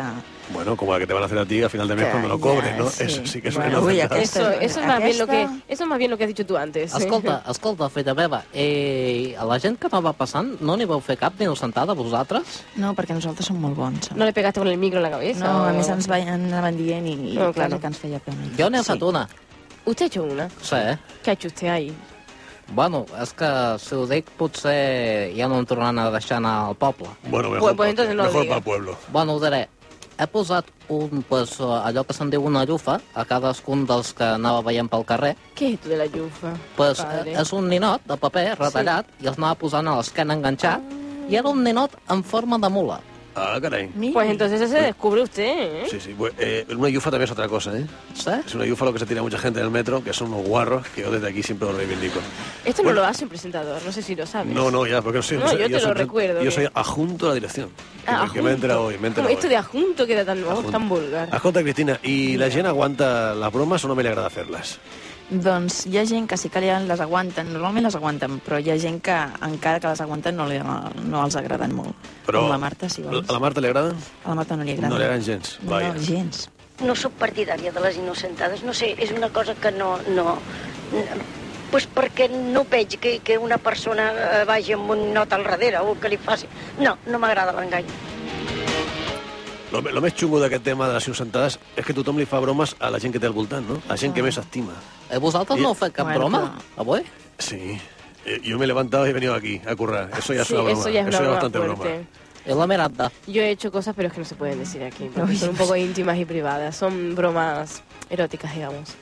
Speaker 2: Bueno, com la que te van a hacer a ti a final de mes
Speaker 8: Que
Speaker 2: cuando lo
Speaker 8: ja,
Speaker 2: cobres, ¿no?
Speaker 8: sí.
Speaker 2: Eso sí que es
Speaker 8: Bueno,
Speaker 2: una
Speaker 8: ui,
Speaker 2: inocentada.
Speaker 8: aquesta-
Speaker 3: Eso, eso es más bien lo que,
Speaker 8: Aquesta-
Speaker 3: eso es más bien lo que has dicho tú antes. ¿eh?
Speaker 6: Escolta, escolta, filla meva, i a la gent que anava passant no n'hi vau fer cap ni sentada, vosaltres?
Speaker 8: No, perquè nosaltres som molt bons.
Speaker 3: No le pegaste con el micro en la cabeza.
Speaker 8: no
Speaker 3: o-
Speaker 8: a més ens va, anaven dient i, i
Speaker 3: No,
Speaker 8: no, clar,
Speaker 3: claro.
Speaker 8: que ens feia pena.
Speaker 6: Jo n'he fet una.
Speaker 3: Usted ha hecho una.
Speaker 6: Sí, eh?
Speaker 3: ¿Qué ha hecho usted ahí?
Speaker 6: Bueno, és que si ho dic potser ja no em tornaran a deixar anar al poble.
Speaker 2: Bueno, mejor,
Speaker 3: Pues- pues
Speaker 2: pa-
Speaker 3: entonces no lo
Speaker 2: mejor
Speaker 3: diga.
Speaker 2: para el pueblo.
Speaker 6: Bueno, ho diré. He posat un, pues, allò que se'n diu una llufa a cadascun dels que anava veient pel carrer.
Speaker 3: ¿Qué es esto de la yufa?
Speaker 6: Pues,
Speaker 3: padre?
Speaker 6: eh, és un ninot de paper retallat sí. i els anava posant a l'esquena enganxat i era un ninot en forma de mula.
Speaker 2: Ah, caray.
Speaker 8: Mira,
Speaker 3: Pues entonces ese descubre usted, ¿eh?
Speaker 2: Sí, sí. pues, eh, una yufa también es otra cosa, ¿eh?
Speaker 6: Sí?
Speaker 2: Es una yufa lo que se tira mucha gente en el metro, que son unos guarros, que yo desde aquí siempre lo reivindico.
Speaker 3: Esto no lo hace un presentador, no sé si lo sabes.
Speaker 2: No, no, ya, porque no soy...
Speaker 3: No, yo te lo
Speaker 2: soy-
Speaker 3: recuerdo,
Speaker 2: Yo
Speaker 3: que-
Speaker 2: soy adjunto a la dirección.
Speaker 3: Ah,
Speaker 2: que, que me
Speaker 3: ajunto.
Speaker 2: entra hoy, me entra
Speaker 3: Como
Speaker 2: hoy.
Speaker 3: Esto de ajunto queda tan, oh,
Speaker 2: Ajunto.
Speaker 3: tan vulgar.
Speaker 2: Escolta, Cristina, ¿y la gent aguanta las bromas o no me le agrada hacerlas?
Speaker 8: Doncs hi ha gent que sí que li- les aguanten, normalment les aguanten, però hi ha gent que encara que les aguanten no, li, no els agraden molt.
Speaker 2: Però-
Speaker 8: Com la Marta, si vols.
Speaker 2: ¿A la Marta le agradan?
Speaker 8: A la Marta no li agrada.
Speaker 2: No li agraden gens.
Speaker 8: No,
Speaker 2: Vaja.
Speaker 8: gens.
Speaker 10: no sóc partidària de les innocentades, no sé, és una cosa que no... no pues perquè no veig que, que una persona eh, vagi amb un not al darrere o que li faci... No, no m'agrada l'engany.
Speaker 2: Lo, lo més xungo d'aquest tema de les innocentades és que tothom li fa bromes a la gent que té al voltant, no? A la gent que més estima.
Speaker 6: Eh, vosaltres
Speaker 2: I-
Speaker 6: no heu fet cap
Speaker 8: Bueno,
Speaker 6: broma, Ah,
Speaker 8: però-
Speaker 6: avui?
Speaker 2: Sí. Eh, Yo me he levantado y he venido aquí a currar. Eso ya es
Speaker 3: Sí,
Speaker 2: una broma.
Speaker 3: eso ya es una broma
Speaker 2: bastante
Speaker 3: fuerte.
Speaker 2: broma.
Speaker 6: I la Miranda?
Speaker 3: Yo he hecho cosas, pero es que no se pueden decir aquí, porque son un poco íntimas y privadas. Son bromas eróticas, digamos.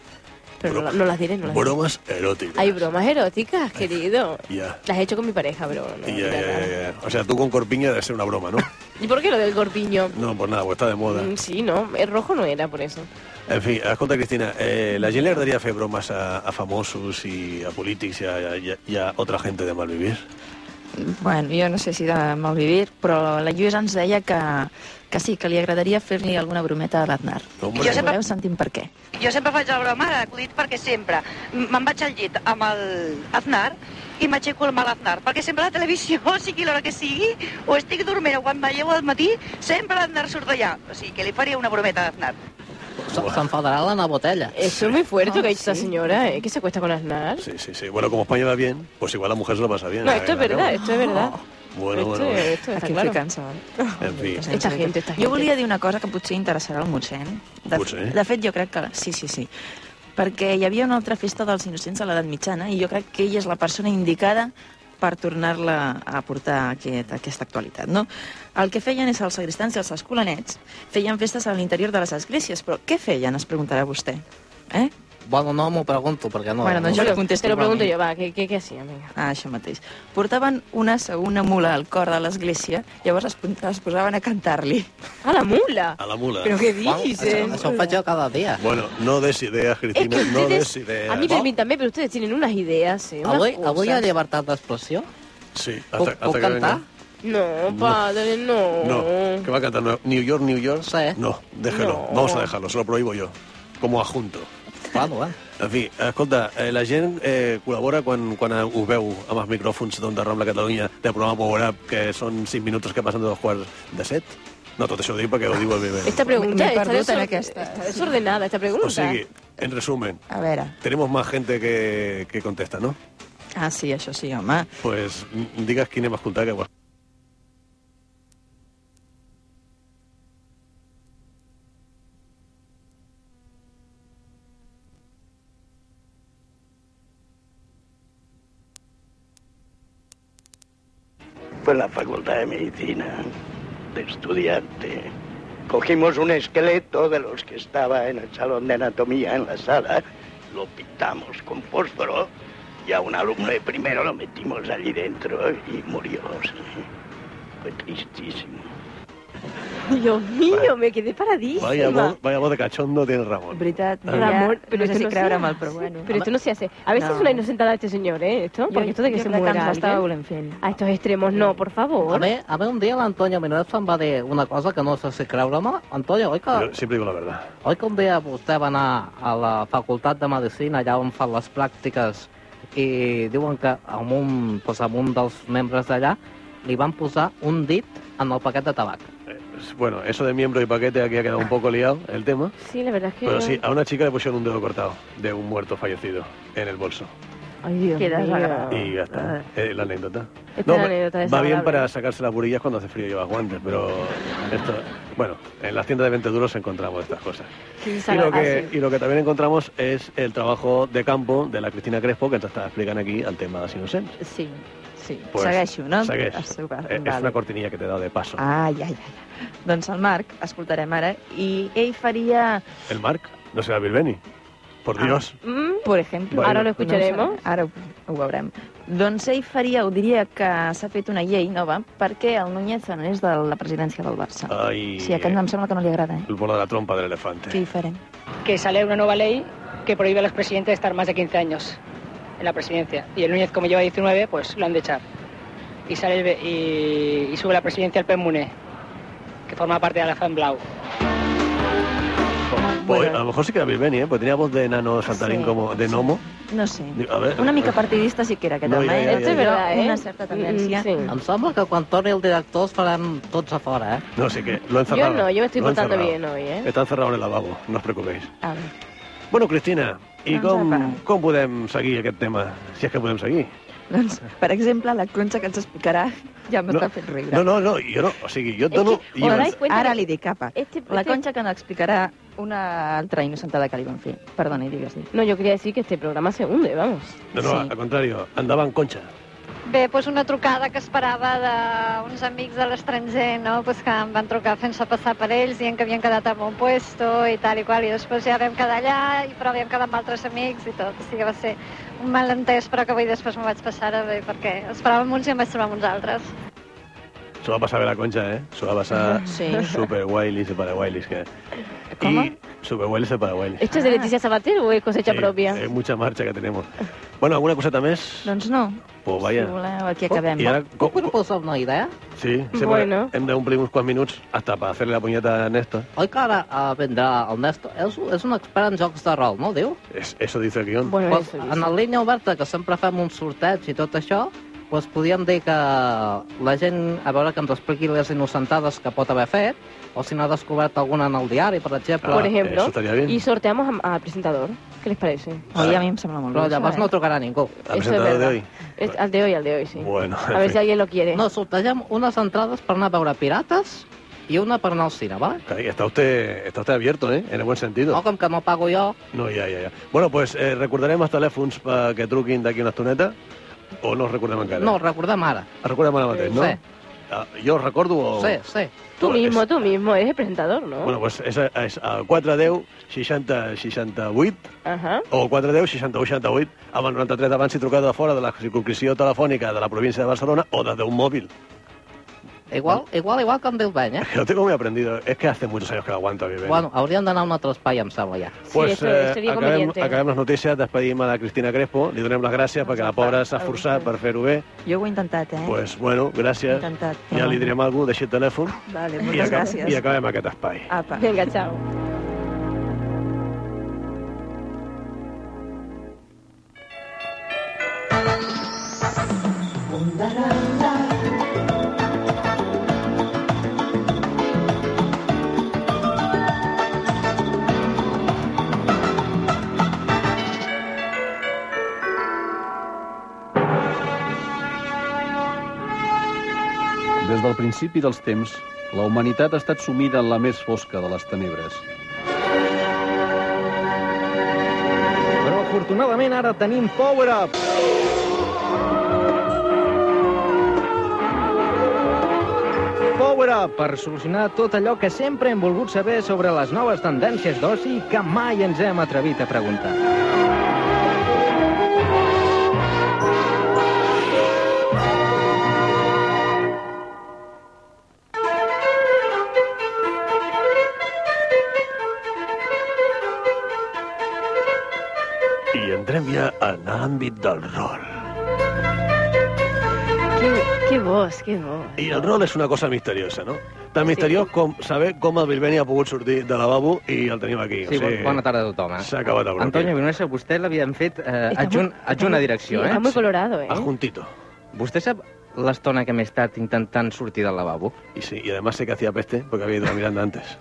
Speaker 3: Pero no, la- no las diré, no las diré.
Speaker 2: Bromas eróticas.
Speaker 3: Hay bromas eróticas, querido.
Speaker 2: Ya.
Speaker 3: Las he hecho con mi pareja, pero no.
Speaker 2: Y,
Speaker 3: no
Speaker 2: eh,
Speaker 3: nada.
Speaker 2: eh, eh, O sea, tú con corpiña debe ser una broma, ¿no?
Speaker 3: ¿Y por qué lo del corpiño?
Speaker 2: No, pues nada, pues está de moda.
Speaker 3: Mm, Sí, no, el rojo no era por eso.
Speaker 2: En fi, escolta, Cristina, eh, la gent li agradaria fer bromes a, a famosos i a polítics i a, i, a, i a otra gente de mal vivir?
Speaker 8: Bueno, jo no sé si de malvivir, però la Lluís ens deia que, que sí, que li agradaria fer-li alguna brometa a l'Aznar.
Speaker 10: Hombre.
Speaker 8: Jo sempre... Voleu sentim per què.
Speaker 10: Jo sempre faig la broma de l'acudit perquè sempre m- me'n vaig al llit amb el Aznar i m'aixeco amb l'Aznar, perquè sempre a la televisió, sigui l'hora que sigui, o estic dormint o quan me llevo al matí, sempre l'Aznar surt d'allà. O sigui, que li faria una brometa a l'Aznar.
Speaker 6: Se- S'enfadarà la nabotella.
Speaker 3: Eso es muy fuerte que ha dicho esta señora, ¿eh? Que se acuesta con Aznar.
Speaker 2: Sí, sí, sí. Bueno, como España va bien, pues igual la mujer se lo pasa bien.
Speaker 3: No,
Speaker 2: ¿eh?
Speaker 3: esto es verdad, esto es verdad.
Speaker 2: Bueno, bueno,
Speaker 3: Esto,
Speaker 2: bueno.
Speaker 3: esto está claro.
Speaker 2: En fi.
Speaker 3: Esta gente, esta
Speaker 8: Jo
Speaker 3: gente.
Speaker 8: volia dir una cosa que potser interessarà al Mutxent. De,
Speaker 2: Potser.
Speaker 8: de fet, jo crec que... la- Sí, sí, sí. Perquè hi havia una altra festa dels innocents a l'edat mitjana i jo crec que ella és la persona indicada per tornar-la a portar a aquest, a aquesta actualitat, no? El que feien és els sagristans i els escolanets feien festes a l'interior de les esglésies, però què feien, es preguntarà vostè? Eh?
Speaker 6: Bueno, no m'ho pregunto, perquè no... este
Speaker 8: Bueno, doncs jo
Speaker 6: no-
Speaker 8: li contesto.
Speaker 3: Te lo pregunto
Speaker 8: igualment.
Speaker 3: yo, va, ¿qué, qué, qué hacían? Venga.
Speaker 8: Ah, això mateix. Portaven una, una mula al cor de l'església, llavors es, pon- es posaven a cantar-li.
Speaker 3: ¡A la mula!
Speaker 2: A la mula.
Speaker 3: ¿Pero qué
Speaker 6: Bueno,
Speaker 3: dices?
Speaker 6: Això, això ho faig jo cada dia.
Speaker 2: Bueno, no des ideas,
Speaker 3: Es
Speaker 2: Cristina,
Speaker 3: que
Speaker 2: no
Speaker 3: ustedes,
Speaker 2: des ideas.
Speaker 3: a mí permítanme, pero ustedes tienen unas ideas, ¿eh? Unas
Speaker 6: Avui, avui hi ha
Speaker 3: cosas.
Speaker 6: llibertat d'expressió?
Speaker 2: Sí, hasta,
Speaker 6: Puc,
Speaker 2: hasta
Speaker 6: puc
Speaker 2: que
Speaker 6: cantar?
Speaker 2: venga.
Speaker 3: No, padre, no.
Speaker 2: No, que va a cantar Nue- New York, New York.
Speaker 6: Sí.
Speaker 2: No, déjalo,
Speaker 3: No.
Speaker 2: vamos a dejarlo, se lo prohíbo yo, como adjunto.
Speaker 6: Bueno, eh?
Speaker 2: En fi, escolta, eh, la gent eh, col·labora quan, quan us veu amb els micròfons d'Onda Rambla Catalunya del programa Power Up, que són 5 minuts que passen de dos quarts de set? No, tot això ho dic perquè ho diu el Viver.
Speaker 3: Esta
Speaker 8: Me-
Speaker 3: pregunta
Speaker 8: me
Speaker 3: está,
Speaker 8: perdut en
Speaker 3: desor-
Speaker 8: aquesta.
Speaker 3: está desordenada, esta pregunta.
Speaker 2: O sigui, en resumen,
Speaker 8: A veure...
Speaker 2: tenemos más gente que, que contesta, ¿no?
Speaker 8: Ah, sí, això sí, home.
Speaker 2: Pues mm, digues quin hem escoltat que...
Speaker 11: Fue en la Facultad de Medicina, de estudiante. Cogimos un esqueleto de los que estaba en el salón de anatomía en la sala, lo pintamos con fósforo y a un alumno de primero lo metimos allí dentro y murió. sí. Fue tristísimo.
Speaker 3: Dios mío, me quedé paradísima.
Speaker 2: Vaya voz, vaya voz de cachondo tiene Ramon.
Speaker 8: En veritat,
Speaker 2: Ah.
Speaker 3: Ramon,
Speaker 8: però
Speaker 3: pero
Speaker 8: no sé
Speaker 3: esto
Speaker 8: si
Speaker 3: no
Speaker 8: creure'm
Speaker 3: se
Speaker 8: el, però
Speaker 3: hace.
Speaker 8: bueno.
Speaker 3: Pero esto no se hace. A veces
Speaker 8: No.
Speaker 3: es una inocentada este señor, ¿eh? Esto, porque esto de que se muera
Speaker 8: estava
Speaker 3: alguien,
Speaker 8: volent fent.
Speaker 3: a estos extremos, no, por
Speaker 6: A
Speaker 3: favor.
Speaker 6: mi, a mi un dia l'Antonio Minolfa em va dir una cosa que no sé si creure-me. Antonio, oi
Speaker 3: Oh.
Speaker 6: que,
Speaker 2: Yo siempre digo la verdad.
Speaker 6: oi que un dia vostè va anar a la facultat de Medicina, allà on fan les pràctiques, i diuen que amb un, doncs, amb un dels membres d'allà li van posar un dit en el paquet de tabac.
Speaker 2: Bueno, eso de miembro y paquete aquí ha quedado un poco liado el tema.
Speaker 3: Sí, la verdad es que...
Speaker 2: Pero sí, a una chica le pusieron un dedo cortado de un muerto fallecido en el bolso.
Speaker 3: Ay, Dios
Speaker 8: Qué desagradable.
Speaker 3: mío.
Speaker 2: Y ya está. Eh, la anécdota.
Speaker 3: Esta Ah. es
Speaker 2: No,
Speaker 3: una
Speaker 2: va-
Speaker 3: anécdota
Speaker 2: va bien
Speaker 3: desagradable.
Speaker 2: para sacarse las burillas cuando hace frío y llevas guantes, pero esto... Bueno, en las tiendas de 20 duros encontramos estas cosas.
Speaker 3: Qué
Speaker 2: Y lo, que,
Speaker 3: desagradable.
Speaker 2: y lo que también encontramos es el trabajo de campo de la Cristina Crespo, que nos está explicando aquí al tema de Sinocent.
Speaker 8: Sí, sí.
Speaker 2: Pues,
Speaker 8: Segueixo, no?
Speaker 2: segueix.
Speaker 8: Es- vale.
Speaker 2: Eh, Es una cortinilla que te he dado de paso.
Speaker 8: Ah, ja, ja, ja. Doncs el Marc, escoltarem ara, i ell faria,
Speaker 2: El Marc, no será Bilbeni. Por
Speaker 8: Ah.
Speaker 2: Dios.
Speaker 3: Mm,
Speaker 8: per exemple...
Speaker 2: Vale. Ara
Speaker 3: lo escucharemos.
Speaker 8: No ho sabem, ara ho, ho veurem. Doncs ell faria, ho diria que s'ha fet una llei nova perquè el Núñez no és de la presidència del Barça.
Speaker 2: Ay,
Speaker 8: Sí, aquest em sembla que no li agrada, eh?
Speaker 2: El bolo de la trompa del elefante.
Speaker 8: Què hi farem?
Speaker 10: Que sale una nueva ley que prohíbe a los presidentes estar más de 15 años en la presidencia. Y el Núñez, como lleva 19, pues lo han de echar. Y, sale el B- y, y sube la presidencia el Mune, que forma parte de la Fan Blau.
Speaker 2: Pues,
Speaker 8: Bueno.
Speaker 2: a lo mejor sí que era Bilbeni, ¿eh? Pues tenía voz de nano Santarín
Speaker 8: Sí,
Speaker 2: como de gnomo.
Speaker 8: No sé.
Speaker 2: A ver, eh,
Speaker 8: Una mica partidista sí que era aquest
Speaker 2: No,
Speaker 8: home,
Speaker 2: ja, ja,
Speaker 8: eh?
Speaker 2: ja, Esto es ja.
Speaker 3: verdad,
Speaker 8: Però
Speaker 3: eh?
Speaker 8: Una certa tendència.
Speaker 3: Mm, sí.
Speaker 6: Em sembla que quan torni el director es faran tots a fora, eh?
Speaker 2: No, sí que lo he
Speaker 3: Yo
Speaker 2: encerrado.
Speaker 3: no, yo me estoy
Speaker 2: Lo he
Speaker 3: portando
Speaker 2: encerrado.
Speaker 3: bien hoy, ¿eh?
Speaker 2: Està encerrado en el lavabo, no us preocupéis.
Speaker 8: A veure.
Speaker 2: Bueno, Cristina, i
Speaker 8: Doncs
Speaker 2: com,
Speaker 8: apa.
Speaker 2: com podem seguir aquest tema? Si és que podem seguir.
Speaker 8: Doncs, per exemple, la conxa que ens explicarà ja m'està
Speaker 2: No,
Speaker 8: fent riure.
Speaker 2: No, no, no, jo no. O sigui, jo et
Speaker 3: És
Speaker 2: dono...
Speaker 3: que-
Speaker 2: Jo,
Speaker 3: Us
Speaker 8: Doncs,
Speaker 3: dais cuenta
Speaker 8: ara
Speaker 3: que-
Speaker 8: li dic, capa.
Speaker 3: Este,
Speaker 8: La
Speaker 3: este-
Speaker 8: conxa que ens explicarà una altra innocentada que li van fer. Perdoni, digues, digues.
Speaker 3: No, yo quería decir que este programa se hunde, vamos.
Speaker 2: no, no,
Speaker 8: sí.
Speaker 2: al contrari, endavant, Concha.
Speaker 12: Bé, doncs una trucada que esperava d'uns amics de l'estranger, no? Pues que em van trucar fent-se passar per ells, dient que havien quedat en un puesto i tal i qual, i després ja vam quedar allà, i però havíem quedat amb altres amics i tot. O sigui, va ser un malentès, però que avui després m'ho vaig passar bé, perquè esperàvem uns i em vaig trobar amb uns altres.
Speaker 2: S'ho va passar bé la Concha, eh? S'ho va passar
Speaker 8: Sí.
Speaker 2: superguailis i paraguailis. Que...
Speaker 8: Com?
Speaker 2: I superguailis i paraguailis. Ah.
Speaker 3: ¿Esto es de Leticia Sabater o es cosecha
Speaker 2: Sí,
Speaker 3: propia?
Speaker 2: Es mucha marcha que tenemos. Bueno, alguna coseta més?
Speaker 8: Doncs no.
Speaker 2: Pues vaya.
Speaker 8: Si voleu, aquí acabem.
Speaker 2: I ara, com,
Speaker 6: ¿Puedo posar una idea?
Speaker 2: sí, sempre
Speaker 6: Bueno.
Speaker 2: hem d'omplir uns quants minuts hasta per fer-li la punyeta a Nesta.
Speaker 6: Oi que ara eh, vendrà el Néstor? És, és un expert en jocs de rol, no, diu?
Speaker 2: Es, eso dice el guión.
Speaker 6: pues, en la línia oberta, que sempre fem un sorteig i tot això, doncs podríem dir que la gent, a veure que ens expliqui les innocentades que pot haver fet, o si n'ha descobert alguna en el diari, per exemple.
Speaker 3: por ejemplo, y sorteamos a- al presentador. ¿Qué les parece?
Speaker 6: Oye, a mí
Speaker 8: me sembra muy
Speaker 6: Però
Speaker 3: bien.
Speaker 6: llavors no trucarà ningú.
Speaker 3: Eso es presentador de verdad. hoy. Es- al de hoy, al de hoy, sí.
Speaker 2: Bueno,
Speaker 3: a ver si alguien lo quiere.
Speaker 6: No, sortegem unes entrades per anar a veure pirates i una per anar al cine, ¿vale?
Speaker 2: Caray, está usted, está usted abierto, ¿eh? En el buen sentido.
Speaker 6: No, com que no pago jo,
Speaker 2: No, ja, ja, ja. Bueno, pues eh, recordarem els telèfons perquè truquin d'aquí una estoneta o no els recordem encara?
Speaker 6: no, recordem ara.
Speaker 2: Els recordem ara mateix, no?
Speaker 6: Sí.
Speaker 2: Ah, jo els recordo o...
Speaker 6: Sí, sí.
Speaker 3: Tú mismo, tú mismo, eres el presentador, ¿no?
Speaker 2: Bueno, pues és, a- és a 410 60 68
Speaker 3: Ajá.
Speaker 2: o 410 61 68 amb el 93 d'abans si trucada de fora de la circunscripció telefònica de la província de Barcelona o des d'un mòbil.
Speaker 6: Igual, igual, igual que em diu Ben, eh?
Speaker 2: Lo tengo muy aprendido. Es que hace muchos años que lo aguanto, bien.
Speaker 6: Bueno, hauríem d'anar a un altre espai, em sembla, ja.
Speaker 2: pues, eh, acabem, acabem les notícies, despedim a la Cristina Crespo, li donem les gràcies perquè la pobra s'ha esforçat per fer-ho bé.
Speaker 8: Jo ho he intentat, eh?
Speaker 2: Pues, bueno,
Speaker 8: He
Speaker 2: gràcies.
Speaker 8: intentat.
Speaker 2: Ja li direm alguna cosa, deixi el telèfon i,
Speaker 8: Vale, moltes
Speaker 2: acab
Speaker 8: gràcies.
Speaker 2: i acabem aquest espai.
Speaker 8: Apa.
Speaker 3: Vinga, chao.
Speaker 13: Des del principi dels temps, la humanitat ha estat sumida en la més fosca de les tenebres.
Speaker 1: Però afortunadament ara tenim Power Up! Power Up per solucionar tot allò que sempre hem volgut saber sobre les noves tendències d'oci que mai ens hem atrevit a preguntar.
Speaker 2: I entrem ja en l'àmbit del rol.
Speaker 3: Qué, qué voz, qué voz.
Speaker 2: I el rol és una cosa misteriosa, no? Tan misteriós com saber com el Bilbeni ha pogut sortir de lavabo i el tenim aquí.
Speaker 1: Sí, bon- bona tarda a tothom. eh?
Speaker 2: S'ha acabat el bloc.
Speaker 1: Antonio Vinuesa, vostè l'havien fet eh,
Speaker 3: Está
Speaker 1: adjunt,
Speaker 3: muy-
Speaker 1: adjunt a
Speaker 3: Sí,
Speaker 1: direcció, eh?
Speaker 3: está muy colorado, ¿eh?
Speaker 2: Adjuntito.
Speaker 1: Vostè sap l'estona que m'he estat intentant sortir del lavabo?
Speaker 2: I sí, i además sé que hacía peste porque había ido a Miranda antes.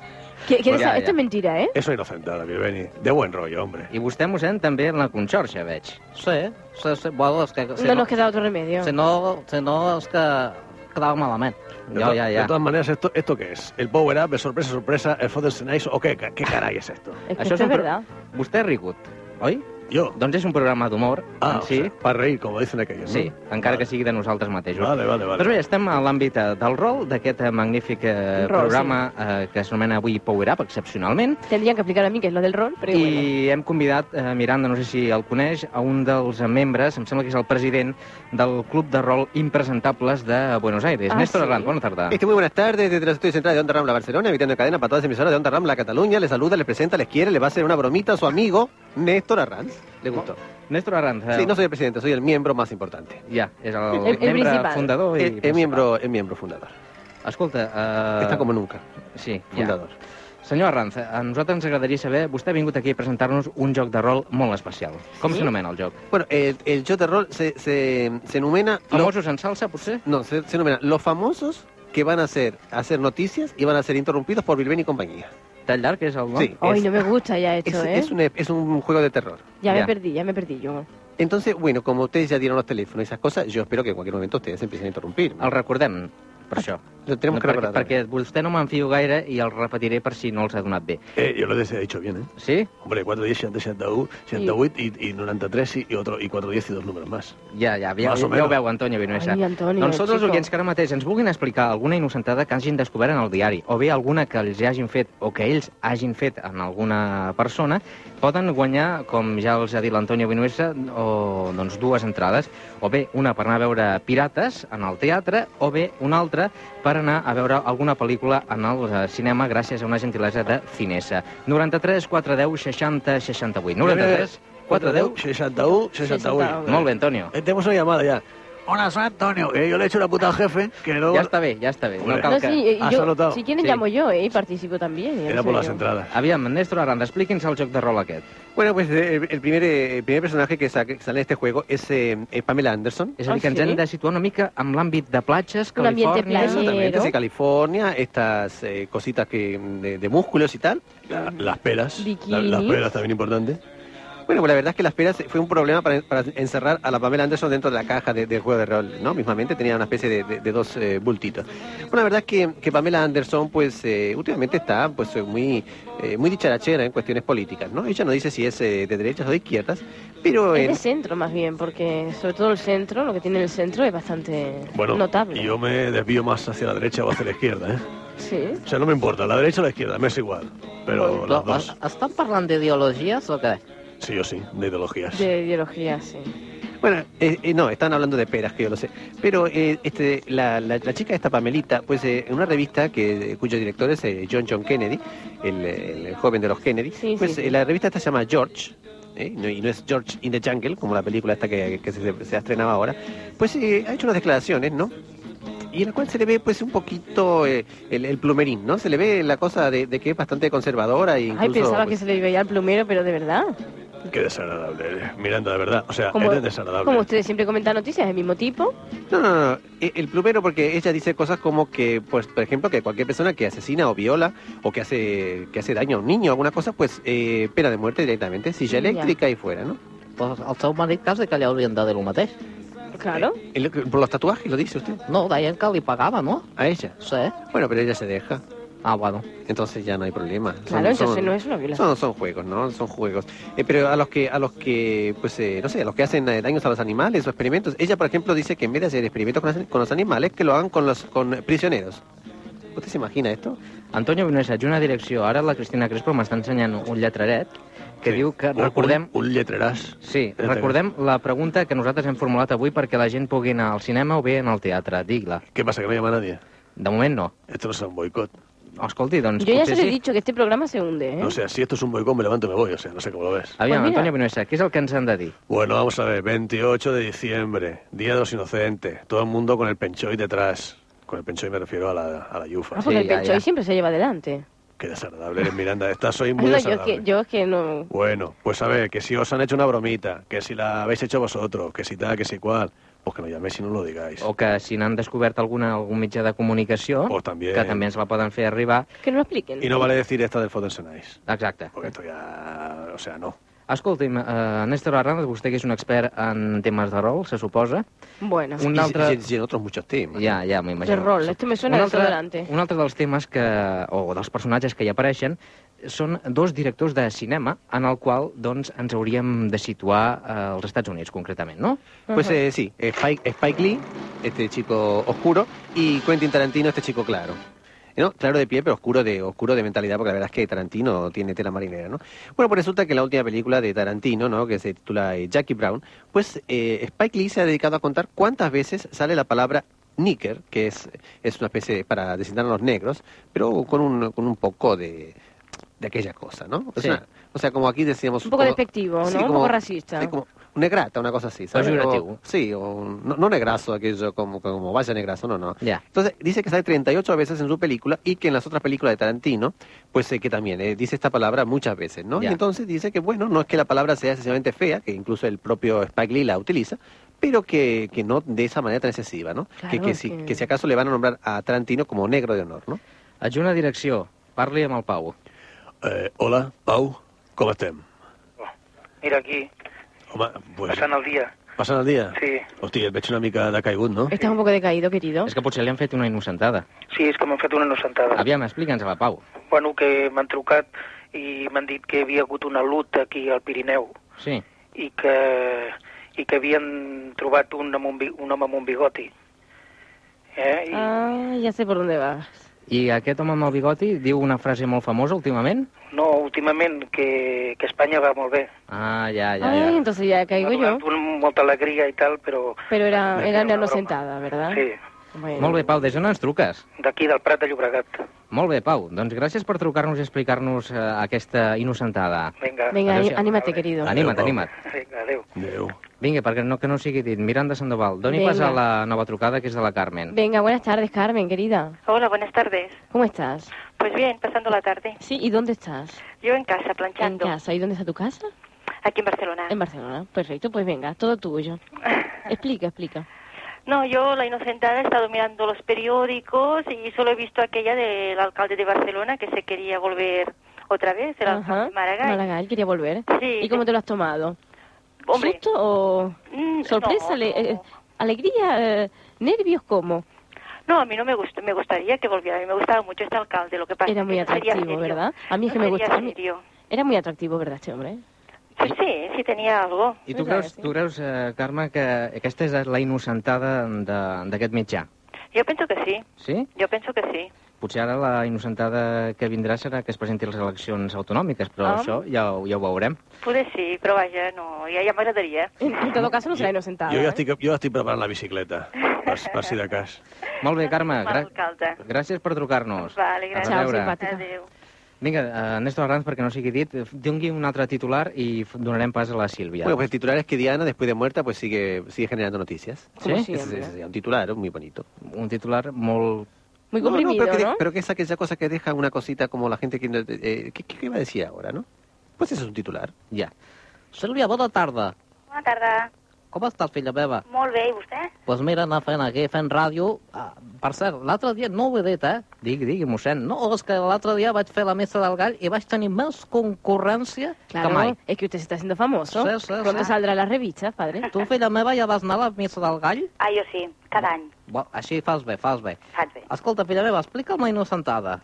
Speaker 3: ¿Qué- qué
Speaker 1: Bueno,
Speaker 3: es esa-
Speaker 1: ya,
Speaker 3: Esto
Speaker 1: ya.
Speaker 3: es mentira, ¿eh?
Speaker 2: És una inocentada, Bilbeni. De buen rollo, hombre.
Speaker 1: I vostè, mossèn, també en la conxorxa, veig.
Speaker 6: Sí, sí, sí. Bueno, és que...
Speaker 3: no, nos queda otro remedio.
Speaker 6: Si no, si no és que quedava malament.
Speaker 2: De
Speaker 6: Ja,
Speaker 2: to-
Speaker 6: ja,
Speaker 2: De
Speaker 6: ja.
Speaker 2: todas maneras, ¿esto, ¿esto qué es? ¿El power up? ¿El sorpresa, sorpresa? ¿El Foden Nice? ¿O qué, qué caray es esto?
Speaker 3: Es que esto es
Speaker 1: pro-
Speaker 3: verdad.
Speaker 1: Vostè ha rigut, oi?
Speaker 2: Jo?
Speaker 1: Doncs és un programa d'humor.
Speaker 2: Ah,
Speaker 1: en si.
Speaker 2: o sea, para reír, como dicen aquellos.
Speaker 1: Sí,
Speaker 2: ¿no?
Speaker 1: encara que sigui de nosaltres mateixos.
Speaker 2: Vale, vale, vale.
Speaker 1: Doncs bé, estem a l'àmbit eh, del rol, d'aquest eh, magnífic eh,
Speaker 3: Rol,
Speaker 1: programa eh, que s'anomena avui Power Up, excepcionalment.
Speaker 3: Tendrían que aplicar a mí, que es lo del rol, pero
Speaker 1: I
Speaker 3: bueno.
Speaker 1: hem convidat, eh, Miranda, no sé si el coneix, a un dels eh, membres, em sembla que és el president del Club de Rol Impresentables de Buenos Aires.
Speaker 14: Ah,
Speaker 1: Néstor
Speaker 14: sí.
Speaker 1: Herranz, bona tarda.
Speaker 14: Este, muy buenas tardes, desde los estudios centrales de Onda Rambla Barcelona, emitiendo en cadena para todas las emisoras de Onda Rambla Cataluña. Les saluda, les presenta, les quiere, les va a hacer una bromita a su amigo Néstor Arranz. Le gustó.
Speaker 1: Néstor Arranz. eh.
Speaker 14: Sí, no soy el presidente, soy el miembro más importante.
Speaker 1: Ja, és el,
Speaker 14: El- el
Speaker 1: membre
Speaker 14: principal.
Speaker 1: fundador i...
Speaker 14: El- el miembro- el miembro fundador.
Speaker 1: Escolta... Uh...
Speaker 14: Está como nunca.
Speaker 1: Sí,
Speaker 14: Fundador.
Speaker 1: Ja. Senyor Arranz, a nosaltres ens agradaria saber, vostè ha vingut aquí a presentar-nos un joc de rol molt especial. Com
Speaker 14: Sí?
Speaker 1: s'anomena el joc?
Speaker 14: Bueno, el, el show de rol se, se, se enumera...
Speaker 1: ¿Famosos en salsa, pues, por ser?
Speaker 14: No, se, se enumera los famosos que van a hacer, a hacer noticias y van a ser interrumpidos por Bilben y compañía.
Speaker 1: ¿Tan largo es algo?
Speaker 14: Sí.
Speaker 3: Hoy
Speaker 14: es-
Speaker 3: no me gusta ya
Speaker 14: es,
Speaker 3: esto, ¿eh?
Speaker 14: es un, es un juego de terror.
Speaker 3: Ya me perdí, ya me perdí yo.
Speaker 14: Entonces, bueno, como ustedes ya dieron los teléfonos y esas cosas, yo espero que en cualquier momento ustedes empiecen a interrumpir.
Speaker 1: El recordem, per això.
Speaker 14: Lo Ah, tenemos que
Speaker 1: perquè,
Speaker 14: recordar.
Speaker 1: perquè vostè no m'enfio gaire i el repetiré per si no els ha donat bé.
Speaker 2: Eh, yo lo he dicho bien, ¿eh?
Speaker 1: Sí?
Speaker 2: Hombre, 4, 10, 60, 61, 68 y, y 93 y, y otro, y 4, 10 y dos números más.
Speaker 1: Ja, ja, ja,
Speaker 2: Más o
Speaker 1: ja, ja ho
Speaker 2: menos.
Speaker 1: veu, Antonio Vinuesa.
Speaker 3: Ai, Antonio,
Speaker 1: doncs tots els
Speaker 3: chico.
Speaker 1: oients que ara mateix ens vulguin explicar alguna innocentada que hagin descobert en el diari, o bé alguna que els hagin fet o que ells hagin fet en alguna persona, poden guanyar, com ja els ha dit l'Antonio Vinuesa, o, doncs, dues entrades, o bé una per anar a veure Pirates en el teatre, o bé una altra per anar a veure alguna pel·lícula en el eh, cinema gràcies a una gentilesa de Cinesa. 93 410 60 68. 93
Speaker 2: 410 61 61.
Speaker 1: Molt bé, Antonio.
Speaker 2: Eh, Tenemos una llamada ya. Hola, soy Antonio. Eh, yo le he hecho la puta al jefe. Que luego...
Speaker 1: Ja està bé, ja està bé. No
Speaker 2: Hombre.
Speaker 1: cal que...
Speaker 3: sí, eh, yo- si quieren llamo yo, ¿eh? Y participo también. ¿eh? En serio.
Speaker 1: entradas. Aviam, Néstor Aranda, expliqui'ns el joc de rol aquest.
Speaker 14: Bueno, pues eh, el, el primer, eh, el primer personaje que, sa- que sale en este juego es eh, eh, Pamela Anderson.
Speaker 3: Ah,
Speaker 1: És a dir, que ens hem de situar una mica amb l'àmbit de platges, Califòrnia...
Speaker 14: Exactamente, sí, California, estas eh, cositas que, de, de músculos y tal.
Speaker 2: las peras. La- las peras también importante.
Speaker 14: Bueno, pues la verdad es que las peras fue un problema para, para encerrar a la Pamela Anderson dentro de la caja de- del juego de rol, ¿no? Mismamente tenía una especie de, de- de dos eh, bultitos. Bueno, la verdad es que, que Pamela Anderson, pues, eh, últimamente está, pues, eh, muy, eh, muy dicharachera en cuestiones políticas, ¿no? Ella no dice si es eh, de derechas o de izquierdas, pero...
Speaker 3: Es
Speaker 14: en-
Speaker 3: de centro, más bien, porque sobre todo el centro, lo que tiene el centro es bastante
Speaker 2: Bueno,
Speaker 3: notable.
Speaker 2: yo me desvío más hacia la derecha o hacia la izquierda, ¿eh?
Speaker 3: Sí.
Speaker 2: O sea, no me importa, la derecha o la izquierda, me es igual. Pero las dos,
Speaker 6: Estan parlant d'ideologies o què?
Speaker 2: sí o sí, de ideologías.
Speaker 3: De ideología, sí.
Speaker 14: Bueno, eh, eh, no, están hablando de peras, que yo lo sé. Pero eh, este, la, la, la chica esta, Pamelita, pues eh, en una revista que, cuyo director es eh, John John Kennedy, el, eh, el joven de los Kennedy,
Speaker 3: Sí,
Speaker 14: pues
Speaker 3: sí,
Speaker 14: eh,
Speaker 3: sí.
Speaker 14: la revista esta se llama George, ¿eh? No- y no es George in the Jungle, como la película esta que, que se, se ha estrenado ahora, pues eh, ha hecho unas declaraciones, ¿no? Y en la cual se le ve pues un poquito eh, el, el plumerín, ¿no? Se le ve la cosa de, de que es bastante conservadora e incluso...
Speaker 3: Ay, pensaba que
Speaker 14: pues,
Speaker 3: se le veía al plumero, pero de verdad.
Speaker 2: Qué desagradable, eh. Miranda, de verdad. O sea,
Speaker 3: Como-
Speaker 2: eres desagradable.
Speaker 3: Como ustedes siempre comentan noticias del mismo tipo.
Speaker 14: No, no, no. E- El plumero, porque ella dice cosas como que, pues, por ejemplo, que cualquier persona que asesina o viola o que hace que hace daño a un niño o alguna cosa, pues, eh, pena de muerte directamente, silla
Speaker 6: Ya.
Speaker 14: eléctrica y fuera, ¿no?
Speaker 6: Pues el seu marit quasi que li haurien de dir el mateix.
Speaker 3: Claro.
Speaker 14: El- por los tatuajes, lo dice usted.
Speaker 6: No, deien que li pagava, no?
Speaker 14: A ella.
Speaker 6: Sí.
Speaker 14: Bueno, pero ella se deja.
Speaker 6: Ah, bueno.
Speaker 14: Entonces ya no hay problema.
Speaker 6: Claro, entonces no es una violación.
Speaker 14: Son, son juegos, ¿no? Son juegos. Eh, pero a los que, a los que, pues, eh, no sé, a los que hacen eh, daños a los animales o experimentos. Ella, por ejemplo, dice que en vez de hacer experimentos con, las- con los animales, que lo hagan con los con prisioneros. ¿Usted se imagina esto?
Speaker 1: Antonio Bonesatge, una direcció. Ara la Cristina Crespo m'està ensenyant un lletraret que diu que
Speaker 2: Un-
Speaker 1: recordem...
Speaker 2: Un, un lletreràs.
Speaker 1: Sí,
Speaker 2: Ja
Speaker 1: recordem la pregunta que nosaltres hem formulat avui perquè la gent pugui anar al cinema o bé en el teatre. Digue-la.
Speaker 2: Què passa, que no hi ha nadie?
Speaker 1: De moment no.
Speaker 2: Esto no és un boicot.
Speaker 1: Escolti, doncs
Speaker 3: Yo ya se
Speaker 1: potser
Speaker 3: lo
Speaker 1: sí.
Speaker 3: he dicho que este programa se hunde, ¿eh?
Speaker 2: O sea, si esto es un boicot, me levanto y me voy. O sea, no sé cómo lo ves.
Speaker 1: Aviam,
Speaker 3: Pues mira.
Speaker 1: Antonio Bonesatge, què és el que ens han de dir?
Speaker 2: Bueno, vamos a ver. 28 de diciembre, Día de los Inocentes. Todo el mundo con el penchoy detrás. Con el penchoy me refiero a la, a la yufa.
Speaker 3: Ah, porque el pecho ahí siempre se lleva adelante.
Speaker 2: Qué desagradable eres, Miranda. Estás hoy muy
Speaker 3: No, yo, es
Speaker 2: desagradable.
Speaker 3: que, yo es que no.
Speaker 2: Bueno, pues a ver, que si os han hecho una bromita, que si la habéis hecho vosotros, que si tal, que si cual, pues que no llaméis y no lo digáis.
Speaker 1: O que si n'han descobert alguna, algun mitjà de comunicació, que també ens la poden fer arribar.
Speaker 3: Que no lo expliquen.
Speaker 2: Y no vale decir esta del Fotensenais.
Speaker 1: Exacte.
Speaker 2: Porque esto ya... O sea, no.
Speaker 1: Escolti'm, eh, Néstor Arrandes, vostè que és un expert en temes de rol, se suposa.
Speaker 3: Bueno.
Speaker 1: Un altre...
Speaker 14: en otros muchos temas.
Speaker 1: Ja, ja, m'imagino.
Speaker 3: De rol, es que me suena
Speaker 1: un
Speaker 3: de
Speaker 1: altre,
Speaker 3: desodorante.
Speaker 1: un altre dels temes que, o dels personatges que hi apareixen són dos directors de cinema en el qual doncs, ens hauríem de situar eh, als Estats Units, concretament, no?
Speaker 14: Pues eh, sí, Spike, Spike Lee, este chico oscuro, y Quentin Tarantino, este chico claro. ¿No? Claro de pie, pero oscuro de, oscuro de mentalidad, porque la verdad es que Tarantino tiene tela marinera, ¿no? Bueno, pues resulta que la última película de Tarantino, ¿no? que se titula eh, Jackie Brown, pues eh, Spike Lee se ha dedicado a contar cuántas veces sale la palabra níquer, que es, es una especie de- para designar a los negros, pero con un, con un poco de, de aquella cosa, ¿no? Es
Speaker 3: Sí.
Speaker 14: una- o sea, como aquí decíamos...
Speaker 3: Un poco
Speaker 14: como-
Speaker 3: despectivo, ¿no?
Speaker 14: sí,
Speaker 3: un
Speaker 14: como-
Speaker 3: poco racista.
Speaker 14: sí, como negrata, una cosa así. ¿sabes?
Speaker 1: Peyorativo.
Speaker 14: O- sí, o no, no negrazo, aquello como, como vaya negrazo, no, no.
Speaker 1: Ja.
Speaker 14: Entonces dice que sale 38 veces en su película y que en las otras películas de Tarantino, pues eh, que también eh, dice esta palabra muchas veces, ¿no?
Speaker 1: Ya.
Speaker 14: Y entonces dice que, bueno, no es que la palabra sea excesivamente fea, que incluso el propio Spike Lee la utiliza, pero que, que no de esa manera tan excesiva, ¿no?
Speaker 1: Claro,
Speaker 14: que, que, si,
Speaker 1: que-
Speaker 14: que si acaso le van a nombrar a Tarantino como negro de honor, ¿no?
Speaker 1: Adjuna direcció, parli amb el Pau.
Speaker 2: Eh, hola, Pau, com estem?
Speaker 15: Mira aquí,
Speaker 2: Home, pues,
Speaker 15: passant el dia.
Speaker 2: passant el dia?
Speaker 15: Sí.
Speaker 2: Hòstia, et veig una mica de caigut, no?
Speaker 3: Estás un poco decaído, querido.
Speaker 1: És que potser li han fet una innocentada.
Speaker 15: Sí, és que m'han fet una innocentada.
Speaker 1: Aviam, explica'ns a la Pau.
Speaker 15: Bueno, que m'han trucat i m'han dit que hi havia hagut una lut aquí al Pirineu
Speaker 1: Sí.
Speaker 15: i que, i que havien trobat un, amb un, bi- un home amb un bigoti. Eh? I
Speaker 3: Ah, ya sé por dónde vas.
Speaker 1: I aquest home amb el bigoti diu una frase molt famosa últimament.
Speaker 15: no, últimament, que, que Espanya va molt bé.
Speaker 1: Ah, ja, ja,
Speaker 3: Ay,
Speaker 1: ja.
Speaker 3: entonces ya caigo
Speaker 15: M'ha
Speaker 3: yo.
Speaker 15: donat un, molta alegria i tal, però...
Speaker 3: Pero era,
Speaker 15: pues. Me
Speaker 3: era
Speaker 15: queda
Speaker 3: una
Speaker 15: una
Speaker 3: sentada, ¿verdad?
Speaker 15: Sí.
Speaker 1: Bueno. Molt bé, Pau, des d'on ens truques?
Speaker 15: d'aquí del Prat de Llobregat.
Speaker 1: Molt bé, Pau. Doncs gràcies per trucar-nos i explicar-nos eh, aquesta innocentada.
Speaker 15: Vinga.
Speaker 3: Venga,
Speaker 1: Adéu-siau.
Speaker 3: anímate, querido.
Speaker 1: Anima't, anima't.
Speaker 15: Vinga, adéu.
Speaker 1: Adéu. Vinga, perquè no, que no sigui dit. Miranda Sandoval, doni
Speaker 3: Vinga.
Speaker 1: pas a la nova trucada, que és de la Carmen.
Speaker 3: Venga, buenas tardes, Carmen, querida.
Speaker 16: Hola, buenas tardes.
Speaker 3: ¿Cómo estás?
Speaker 16: Pues bien, pasando la tarde.
Speaker 3: Sí, ¿y dónde estás?
Speaker 16: Yo en casa, planchando.
Speaker 3: ¿En casa? ¿Y dónde está tu casa?
Speaker 16: Aquí en Barcelona.
Speaker 3: En Barcelona. Perfecto, pues venga, todo tuyo. Explica, explica.
Speaker 16: No, yo la inocentada he estado mirando los periódicos y solo he visto aquella del alcalde de Barcelona que se quería volver otra vez, el alcalde Maragall.
Speaker 3: Maragall quería volver.
Speaker 16: Sí.
Speaker 3: ¿Y cómo te lo has tomado?
Speaker 16: Hombre.
Speaker 3: ¿Susto o
Speaker 16: Mm,
Speaker 3: sorpresa?
Speaker 16: no,
Speaker 3: ale- eh, ¿Alegría? eh, ¿Nervios? ¿Cómo?
Speaker 16: No, a mí no me gustó, me gustaría que volviera. A mí me gustaba mucho este alcalde, lo que pasa
Speaker 3: Era
Speaker 16: es
Speaker 3: muy
Speaker 16: que no sería
Speaker 3: atractivo,
Speaker 16: serio.
Speaker 3: ¿verdad? A mí es que
Speaker 16: No
Speaker 3: me
Speaker 16: sería
Speaker 3: gusta. a mí-
Speaker 16: serio.
Speaker 3: Era muy atractivo, ¿verdad, este hombre?
Speaker 16: Pues sí, sí tenía algo.
Speaker 1: I tu creus, tu creus eh, Carme, que aquesta és la innocentada de- d'aquest mitjà?
Speaker 16: Yo pienso que sí,
Speaker 1: Sí?
Speaker 16: yo pienso que sí.
Speaker 1: Potser ara la innocentada que vindrà serà que es presenti a les eleccions autonòmiques, però
Speaker 16: Ah.
Speaker 1: això ja, ho- ja ho veurem.
Speaker 16: Pude sí, pero vaya, no, ya, ya m'agradaria.
Speaker 3: En todo caso, no será inocentada.
Speaker 2: Jo ja estic, jo ja estic preparant la bicicleta, per, per si de cas.
Speaker 1: Molt bé, Carme, gra
Speaker 16: Alcalde.
Speaker 1: gràcies per trucar-nos.
Speaker 16: Vale,
Speaker 1: A
Speaker 16: gracias.
Speaker 1: veure.
Speaker 16: Adéu.
Speaker 1: Vinga, eh, Néstor Arranz, perquè no sigui dit, eh, doni un altre titular i f- donarem pas a la Sílvia.
Speaker 14: Bueno, pues el titular es que Diana, después de muerta, pues sigue, sigue generando noticias.
Speaker 1: Como
Speaker 14: Sí, sí,
Speaker 1: siempre.
Speaker 14: sí, sí, un titular muy bonito.
Speaker 1: Un titular muy...
Speaker 14: No,
Speaker 3: Muy
Speaker 14: no,
Speaker 3: comprimido,
Speaker 14: pero, que de-
Speaker 3: ¿no?
Speaker 14: pero que es aquella cosa que deja una cosita como la gente que... no- Eh, ¿qué, ¿Qué iba a decir ahora, no? Pues eso es un titular.
Speaker 1: Ya.
Speaker 6: Sílvia, bona tarda.
Speaker 17: Bona tarda.
Speaker 6: Com estàs, filla meva?
Speaker 17: Molt bé, i vostè?
Speaker 6: Doncs pues mira, anar fent aquí, fent ràdio. Ah, per cert, l'altre dia no ho he dit, eh?
Speaker 1: Digui, digui, mossèn.
Speaker 6: No, és que l'altre dia vaig fer la missa del gall i vaig tenir més concurrència
Speaker 3: Claro,
Speaker 6: que mai.
Speaker 3: es que usted se está haciendo famoso.
Speaker 6: Sí, sí,
Speaker 3: Pronto
Speaker 6: sí.
Speaker 3: saldrá en las revistas, padre.
Speaker 6: Tu, filla meva, ja vas anar a la missa del gall?
Speaker 17: Ah, jo sí, cada any.
Speaker 6: Bo, així fas bé, fas bé.
Speaker 17: Faig bé.
Speaker 6: Escolta, filla meva, explica'm la innocentada.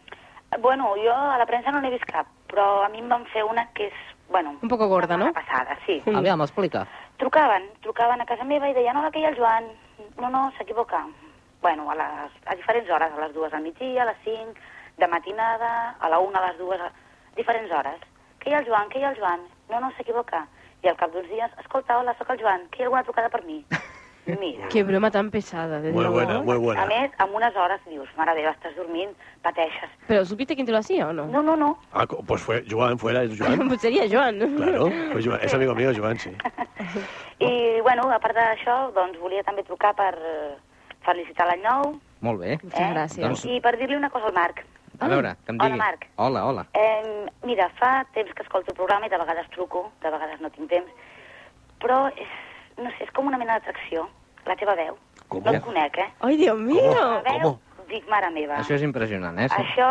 Speaker 17: Bueno, jo a la premsa no n'he vist cap, però a mi em van fer una que és, bueno,
Speaker 3: Un poco gorda, ¿no?
Speaker 17: passada, sí.
Speaker 6: Aviam, explica.
Speaker 17: Trucaven, trucaven a casa meva i deien, hola, que hi ha el Joan. No, no, s'equivoca. Bueno, a, les, a diferents hores, a les dues del migdia, a les 5, de matinada, a la una, a les dues, a diferents hores. Que hi ha el Joan, que hi ha el Joan. No, no, s'equivoca. I al cap d'uns dies, escolta, hola, sóc el Joan, que hi ha alguna trucada per mi. Mira.
Speaker 3: Qué broma tan pesada, desde luego.
Speaker 17: A més, en unes hores dius, mare meva, estàs dormint, pateixes.
Speaker 3: ¿Pero supiste quién te lo hacía o no?
Speaker 17: No, no, no.
Speaker 2: Ah, co- pues fue Joan, fuera es Joan.
Speaker 3: Pues sería Joan.
Speaker 2: Claro, fue Joan. es amigo mío, Joan, sí.
Speaker 17: I, bueno, a part d'això, doncs volia també trucar per eh, felicitar l'any nou.
Speaker 1: Molt bé.
Speaker 17: eh?
Speaker 1: Doncs,
Speaker 17: I per dir-li una cosa al Marc.
Speaker 1: a veure, que em digui.
Speaker 17: Hola, Marc.
Speaker 1: Hola, hola.
Speaker 17: Eh, mira, fa temps que escolto el programa i de vegades truco, de vegades no tinc temps, però és, no sé, és com una mena d'atracció, la teva veu. Com? No et conec, eh?
Speaker 3: Ai, Dios mío.
Speaker 17: La veu, dic, mare meva.
Speaker 1: Això és impressionant, eh? Sí.
Speaker 17: Això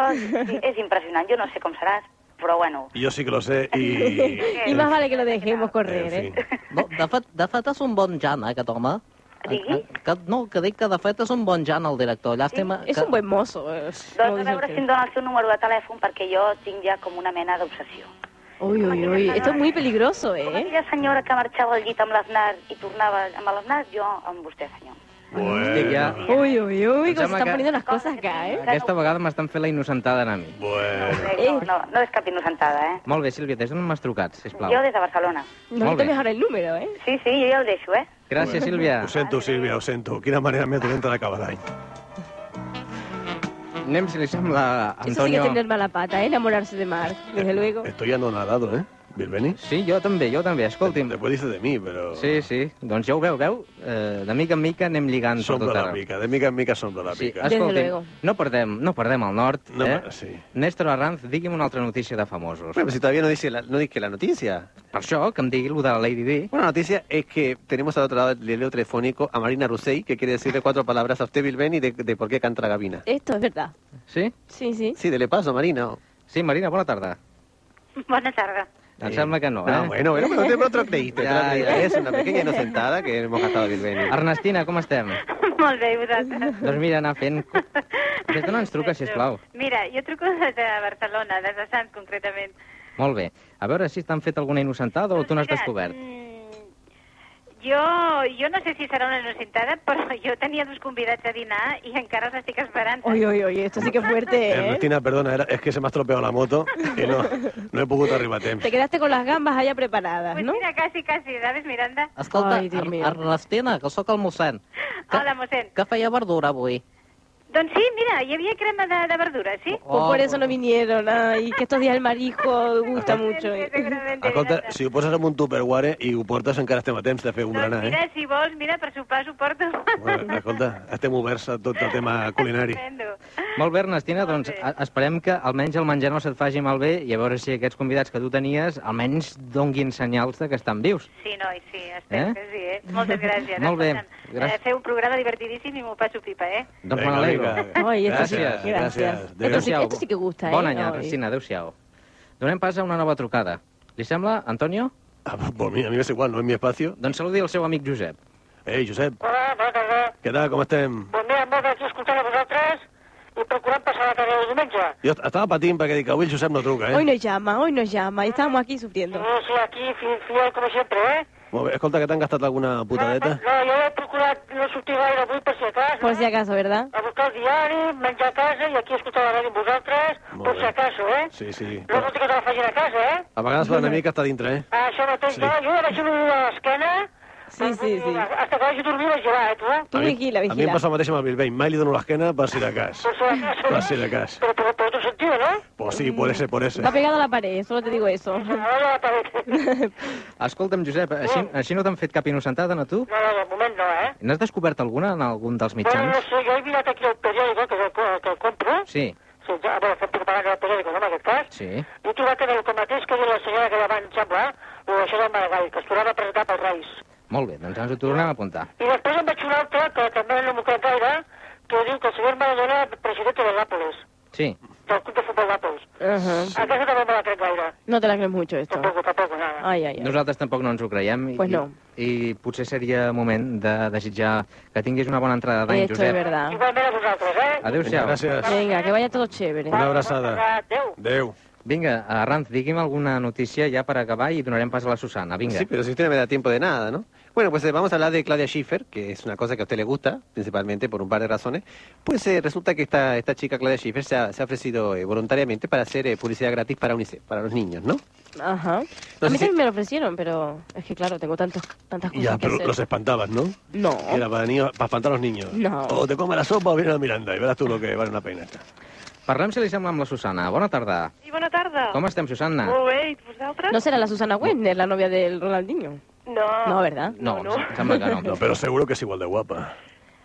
Speaker 17: sí, és impressionant. Jo no sé com seràs, però bueno.
Speaker 2: Yo sí que lo sé y...
Speaker 3: Y más vale que lo dejemos correr, ¿eh?
Speaker 6: No, de fet, de fet és un bon Jan, eh, aquest home. Eh,
Speaker 17: Digui?
Speaker 6: Que, no, que dic que de fet és un bon Jan el director. Llàstima
Speaker 3: Es
Speaker 6: que...
Speaker 3: un buen mozo. eh, es- como
Speaker 17: Doncs a
Speaker 3: dice
Speaker 17: veure
Speaker 3: usted.
Speaker 17: si em dona el seu número de telèfon perquè jo tinc ja com una mena d'obsessió.
Speaker 3: Uy, uy, uy. Esto es muy peligroso, ¿eh?
Speaker 17: Aquella senyora que marxava al llit amb l'Aznar i tornava amb l'Aznar, jo amb vostè, senyor.
Speaker 1: Bueno. Ja,
Speaker 3: Uy, uy, uy.
Speaker 1: Em
Speaker 3: Cómo se
Speaker 1: sembla
Speaker 3: están
Speaker 1: que-
Speaker 3: poniendo las cosas acá, ¿eh?
Speaker 1: aquesta vegada m'estan fent la innocentada a mi.
Speaker 2: Bueno.
Speaker 17: No, no, no és cap innocentada, eh?
Speaker 1: Molt bé, Sílvia, des d'on m'has trucat, sisplau?
Speaker 17: Jo des de Barcelona.
Speaker 3: No
Speaker 1: Molt
Speaker 3: me
Speaker 1: bé.
Speaker 3: tomes ahora el número, ¿eh?
Speaker 17: Sí, sí, jo ja ho deixo, eh?
Speaker 1: Gràcies, Sílvia.
Speaker 2: Ho sento, Sílvia, ho sento. Quina manera més dolenta d'acabar l'any.
Speaker 1: Anem, si li sembla,
Speaker 3: Eso sí que
Speaker 1: Antonio...
Speaker 3: es tener mala pata, ¿eh? enamorarse de Mark, desde luego.
Speaker 2: Estoy anonadado, eh? Bilbeni?
Speaker 1: Sí, jo també, jo també, escolti'm.
Speaker 2: Després dices de mi, però...
Speaker 1: Sí, sí, doncs ja ho veu, veu? Eh, de mica en mica anem lligant
Speaker 2: S'omple
Speaker 1: per tot
Speaker 2: la
Speaker 1: arreu.
Speaker 2: pica, de mica en mica s'omple la
Speaker 1: Sí,
Speaker 2: pica.
Speaker 1: escolti'm, no perdem, no perdem el nord,
Speaker 2: No,
Speaker 1: eh?
Speaker 2: sí.
Speaker 1: Néstor Arranz, digui'm una altra notícia de famosos.
Speaker 14: Bueno, pues si todavía no dice la, no dice que la noticia.
Speaker 1: Per això, que em digui lo de la Lady Di.
Speaker 14: Bueno, la noticia es que tenemos al otro lado del leo telefónico a Marina Rusey, que quiere decirle cuatro palabras a usted, Bilbeni, de, de por qué canta la gabina.
Speaker 3: Esto es verdad.
Speaker 1: Sí?
Speaker 3: Sí, sí.
Speaker 14: Sí, dele paso, Marina.
Speaker 1: Sí, Marina, bona tarda.
Speaker 17: Bona tarda.
Speaker 1: Em sembla que no, eh?
Speaker 14: No, bueno, bueno, pero te lo creíste. te la
Speaker 1: Ya,
Speaker 14: creíste.
Speaker 1: ya.
Speaker 14: Es una pequeña inocentada que hemos gastado a Bilbeni.
Speaker 1: Ernestina, com estem?
Speaker 18: Molt bé, i vosaltres?
Speaker 1: doncs mira, anar fent... Des d'on ens truca, sisplau?
Speaker 18: Mira, jo truco des de Barcelona, des de Sants, concretament.
Speaker 1: Molt bé. A veure si t'han fet alguna innocentada o tu n'has descobert.
Speaker 18: Jo, jo no sé si serà una innocentada, però jo tenia dos convidats a dinar i encara els estic esperant.
Speaker 3: Oye, oye, oye, esto sí que es fuerte, ¿eh?
Speaker 2: Ernestina, perdona, era, és que se m'ha estropeado la moto i no, no he pogut arribar a temps.
Speaker 3: Te quedaste con las gambas allá preparadas,
Speaker 18: Pues
Speaker 3: ¿no?
Speaker 18: mira, casi, casi, ¿sabes, Miranda?
Speaker 6: Escolta, Ai, Ernestina, que sóc el mossèn.
Speaker 18: Hola, mossèn.
Speaker 6: Què feia verdura avui?
Speaker 18: Doncs sí, mira, hi havia crema de, de verdura, sí?
Speaker 1: Oh,
Speaker 3: Pues por eso no vinieron, ay, que estos días el marisco gusta mucho. ¿eh?
Speaker 2: Escolta, si ho poses en un tupperware i ho portes encara estem a temps de fer un berenar, eh?
Speaker 18: Mira, si vols, mira, per sopar s'ho porto.
Speaker 2: Bueno, escolta, estem oberts a tot el tema culinari.
Speaker 1: Molt bé, Ernestina, doncs a- esperem que almenys el menjar no se't faci malbé i a veure si aquests convidats que tu tenies almenys donguin senyals de que estan vius.
Speaker 18: Sí, noi, sí, espero
Speaker 1: Eh?
Speaker 18: que sí, eh? Moltes gràcies.
Speaker 1: Molt bé,
Speaker 18: escolta'm.
Speaker 1: gràcies.
Speaker 18: Eh, feu un programa divertidíssim i m'ho passo pipa, eh?
Speaker 2: Vinga,
Speaker 1: Doncs me n'alegro.
Speaker 2: vinga. Ai, esto sí, Gràcies, gràcies. gràcies. Adéu.
Speaker 3: Esto sí- esto sí que gusta, eh?
Speaker 1: Bona nit,
Speaker 3: Ai.
Speaker 1: Ernestina, adéu-siau. Donem pas a una nova trucada. Li sembla, Antonio?
Speaker 2: Ah, por mi, a mi m'és igual, no és mi espacio.
Speaker 1: Doncs saludi el seu amic Josep.
Speaker 2: Ei, Josep. Què tal, com estem?
Speaker 19: Doncs mira, molt gràcies escoltant a vosaltres i procurant passar la tarda del diumenge.
Speaker 2: Jo estava patint perquè dic, avui el Josep no truca,
Speaker 3: Hoy
Speaker 2: eh?
Speaker 3: nos llama, hoy nos llama, y estamos aquí sufriendo.
Speaker 19: No, sí, aquí, fiel, fiel com sempre, eh?
Speaker 2: Molt bé, escolta, que t'han gastat alguna putadeta?
Speaker 19: No, jo he procurat no sortir gaire avui per si acaso,
Speaker 3: Por si acaso, ¿verdad?
Speaker 19: a buscar el diari, menjar a casa i aquí escoltar la ràdio amb vosaltres, per si acaso, eh?
Speaker 2: Sí, sí.
Speaker 19: No vol dir que te la facin a casa, eh?
Speaker 2: A vegades l'enemic està dintre, eh?
Speaker 19: Ah, Això mateix,
Speaker 2: Sí.
Speaker 19: sí. no? Jo ja vaig dormir a l'esquena,
Speaker 3: Sí, sí, sí.
Speaker 19: hasta que vaig dormir vaig llevar, eh, tu? eh?
Speaker 2: A mi- A mi em passa el mateix amb el Bilbao. Mai li dono l'esquena per si de cas.
Speaker 19: Per si acaso,
Speaker 2: Per si de cas. Però,
Speaker 19: Pues però, però tu sentiu, no?
Speaker 2: Pues sí, puede ser por ese.
Speaker 3: Va pegado a la pared, solo te digo eso.
Speaker 1: Escolta'm, Josep, així, així no t'han fet cap innocentada, no tu?
Speaker 19: no, no, de moment no, eh?
Speaker 1: N'has descobert alguna en algun dels
Speaker 19: Bueno, no
Speaker 1: mitjans?
Speaker 19: sé, jo he mirat aquí el periòdico que, que, que el compro.
Speaker 1: Sí,
Speaker 19: Eh, Sí, ja, bueno, fem propaganda del periòdico, no, tota en aquest cas.
Speaker 1: sí.
Speaker 19: I he trobat en el que mateix que diu la senyora que davant, em sembla, eh? o això del Maragall, que es tornava a presentar pels Reis.
Speaker 1: Molt bé, doncs ens ho tornem a apuntar.
Speaker 19: I després em vaig un altre, que també no m'ho crec gaire, que diu que el senyor Maradona és president de l'Àpolis,
Speaker 1: Sí.
Speaker 19: del club de futbol d'Àpolis.
Speaker 3: Ajá.
Speaker 19: Aquesta també me la crec gaire.
Speaker 3: No te la crees mucho esto. Ay, ay, ay.
Speaker 1: Nosaltres tampoc no ens ho creiem. i-
Speaker 3: Pues no.
Speaker 1: I potser seria moment de desitjar que tinguis una bona entrada d'any,
Speaker 3: Esto es
Speaker 1: Josep.
Speaker 3: verdad.
Speaker 1: Adéu-siau. Gràcies.
Speaker 3: Venga, que vaya todo chévere.
Speaker 1: Una abraçada. Adéu. Vinga, Arranz, digui'm alguna notícia ja per acabar i donarem pas a la Susana. Vinga.
Speaker 14: Sí, pero si usted no me da tiempo de nada, ¿no? Bueno, pues eh, vamos a hablar de Claudia Schiffer, que es una cosa que a usted le gusta, principalmente por un par de razones. Pues eh, resulta que esta, esta chica, Claudia Schiffer, se ha, se ha ofrecido eh, voluntariamente para hacer eh, publicidad gratis para UNICEF, para los niños, ¿no?
Speaker 3: Ajá. A
Speaker 14: No
Speaker 3: mí
Speaker 14: sé si-
Speaker 3: también me lo ofrecieron, pero es que claro, tengo tantos, tantas cosas
Speaker 2: Ya,
Speaker 3: que
Speaker 2: pero
Speaker 3: hacer.
Speaker 2: los espantabas, ¿no?
Speaker 3: No.
Speaker 2: Era para, niños, para espantar a los niños.
Speaker 3: No.
Speaker 2: O te comes la sopa o viene la Miranda y verás tú lo que vale una pena.
Speaker 1: Parlem, si li sembla, amb la Susana. Bona tarda.
Speaker 20: Sí, bona tarda.
Speaker 1: Com estem, Susana?
Speaker 20: Molt bé, i vosaltres?
Speaker 3: ¿No será la Susana Wendner, la novia del Ronaldinho?
Speaker 20: No.
Speaker 3: No, ¿verdad?
Speaker 1: No,
Speaker 20: no.
Speaker 1: em sembla que no.
Speaker 2: No, pero seguro que es igual de guapa.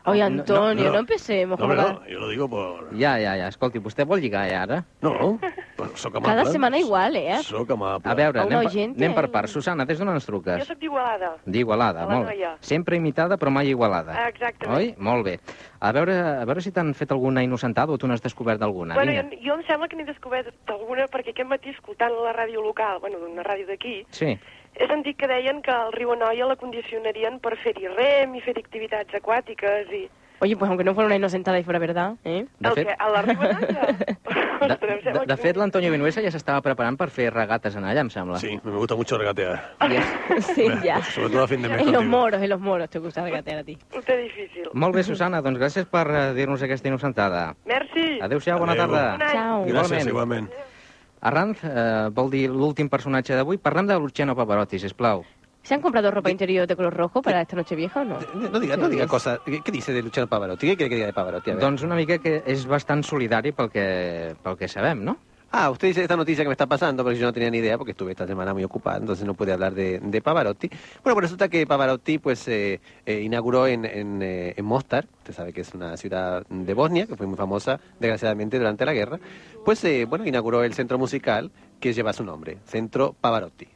Speaker 3: Oye, Antonio, no,
Speaker 1: no.
Speaker 3: empecemos.
Speaker 1: No,
Speaker 3: con
Speaker 1: hombre,
Speaker 3: la-
Speaker 2: Yo lo digo por...
Speaker 1: Ja, ja, ja. Escolti, vostè vol lligar ja, ara?
Speaker 2: No, però sóc
Speaker 3: Cada semana igual, ¿eh?
Speaker 2: Sóc amable.
Speaker 1: A veure,
Speaker 3: A un
Speaker 1: anem, per,
Speaker 3: oient,
Speaker 1: anem per
Speaker 3: eh?
Speaker 1: parts. Susana, des d'on ens
Speaker 20: Jo
Speaker 1: truques?
Speaker 20: sóc d'Igualada.
Speaker 1: D'Igualada,
Speaker 20: de la
Speaker 1: molt bé.
Speaker 20: noia.
Speaker 1: Sempre imitada, però mai igualada.
Speaker 20: Ah, exactament.
Speaker 1: Oi? Molt bé. A veure, a veure si t'han fet alguna innocentada o tu n'has descobert alguna.
Speaker 20: Bueno,
Speaker 1: Vinga.
Speaker 20: jo, jo em sembla que n'he descobert alguna perquè aquest matí escoltant la ràdio local, bueno, d'una ràdio d'aquí,
Speaker 1: Sí.
Speaker 20: he sentit que deien que el riu Anoia la condicionarien per fer-hi rem i fer activitats aquàtiques i...
Speaker 3: Oye, pues aunque no fuera una inocentada y fuera verdad, ¿eh?
Speaker 1: De fet,
Speaker 20: A la riu Anoia?
Speaker 1: de, de, de fet l'Antonio Vinuesa ja s'estava preparant per fer regates en allà, em sembla.
Speaker 2: Sí, me gusta mucho regatear.
Speaker 3: sí, ya.
Speaker 2: Sobretot a fin de mes
Speaker 3: En los
Speaker 2: contigo.
Speaker 3: moros, en los moros, te gusta regatear a ti.
Speaker 20: Ho té difícil.
Speaker 1: Molt bé, Susana, doncs gràcies per eh, dir-nos aquesta innocentada.
Speaker 20: Merci.
Speaker 1: Adéu-siau, bona
Speaker 2: Adéu.
Speaker 1: tarda.
Speaker 20: Ciao.
Speaker 2: Gràcies, igualment.
Speaker 1: Arranz, eh, vol dir l'últim personatge d'avui. Parlem de Luciano Pavarotti, sisplau.
Speaker 3: ¿Se han comprado ropa interior de color rojo para esta noche vieja o no?
Speaker 14: No diga, no diga cosas. ¿Qué, qué dice de Luciano Pavarotti? ¿Qué quiere que diga de Pavarotti? A ver.
Speaker 1: Doncs una mica que és bastant solidari pel que, pel que sabem, no?
Speaker 14: Ah, usted dice esta noticia que me está pasando, porque yo no tenía ni idea, porque estuve esta semana muy ocupada, entonces no pude hablar de, de Pavarotti. Bueno, pues resulta que Pavarotti pues eh, eh, inauguró en, en, eh, en Mostar, usted sabe que es una ciudad de Bosnia, que fue muy famosa, desgraciadamente, durante la guerra, pues eh, bueno, inauguró el centro musical que lleva su nombre, Centro Pavarotti.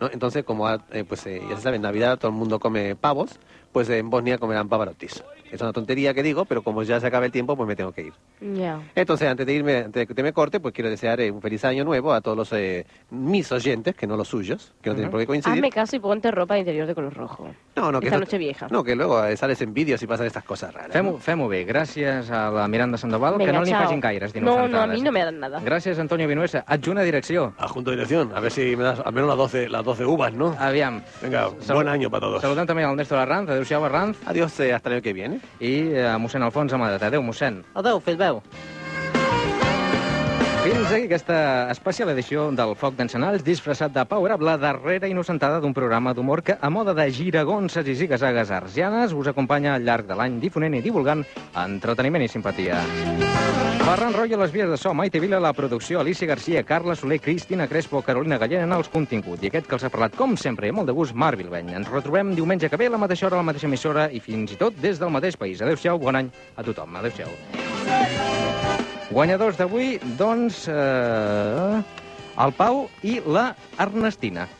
Speaker 14: ¿no? Entonces, como ah, eh, pues eh, ya se sabe, en Navidad todo el mundo come pavos, pues en Bosnia comerán Pavarottis. Es una tontería que digo, pero como ya se acaba el tiempo, pues me tengo que ir.
Speaker 3: Ya.
Speaker 14: Entonces, antes de irme, antes de que te me corte, pues quiero desear eh, un feliz año nuevo a todos los eh, mis oyentes, que no los suyos, que no tienen por qué coincidir.
Speaker 3: Hazme caso y ponte ropa de interior de color rojo.
Speaker 14: No, no, que
Speaker 3: Ah, esta
Speaker 14: eso-
Speaker 3: noche vieja.
Speaker 14: No, que luego eh, sales en vídeos y pasan estas cosas raras.
Speaker 1: Fem-ho fem bé. Gràcies a la Miranda Sandoval, que
Speaker 3: Venga,
Speaker 1: no li
Speaker 3: chao.
Speaker 1: facin gaires
Speaker 3: No,
Speaker 1: d'innocentades.
Speaker 3: no, a mí no me dan nada.
Speaker 1: Gràcies, Antonio Vinuesa. Adjunta direcció.
Speaker 2: Adjunta dirección. A ver si me das al menos las 12, las 12 uvas, ¿no?
Speaker 1: Aviam.
Speaker 2: Venga, buen año para todos.
Speaker 1: Saludem també al Néstor Arranz. Adéu-siau, Arranz. eh,
Speaker 14: Adiós, hasta l'any que viene.
Speaker 1: I eh, mossèn Alfons Amadret. Adéu, mossèn.
Speaker 6: Adéu, fill veu.
Speaker 1: Fins aquí aquesta especial edició del Foc d'Encenalls disfressat de Power Up, la darrera innocentada d'un programa d'humor que, a moda de giragonses i zigazagues arsianes, us acompanya al llarg de l'any difonent i divulgant entreteniment i simpatia. Ferran Royo, les vies de so, Maite Vila, la producció, Alicia Garcia, Carla Soler, Cristina Crespo, Carolina Gallena, els continguts. I aquest que els ha parlat, com sempre, i amb molt de gust, Marc Vilbeny. Ens retrobem diumenge que ve a la mateixa hora, a la mateixa emissora i fins i tot des del mateix país. Adéu-siau, bon any a tothom. Adéu-siau. Guanyadors d'avui, doncs, eh, el Pau i la Ernestina.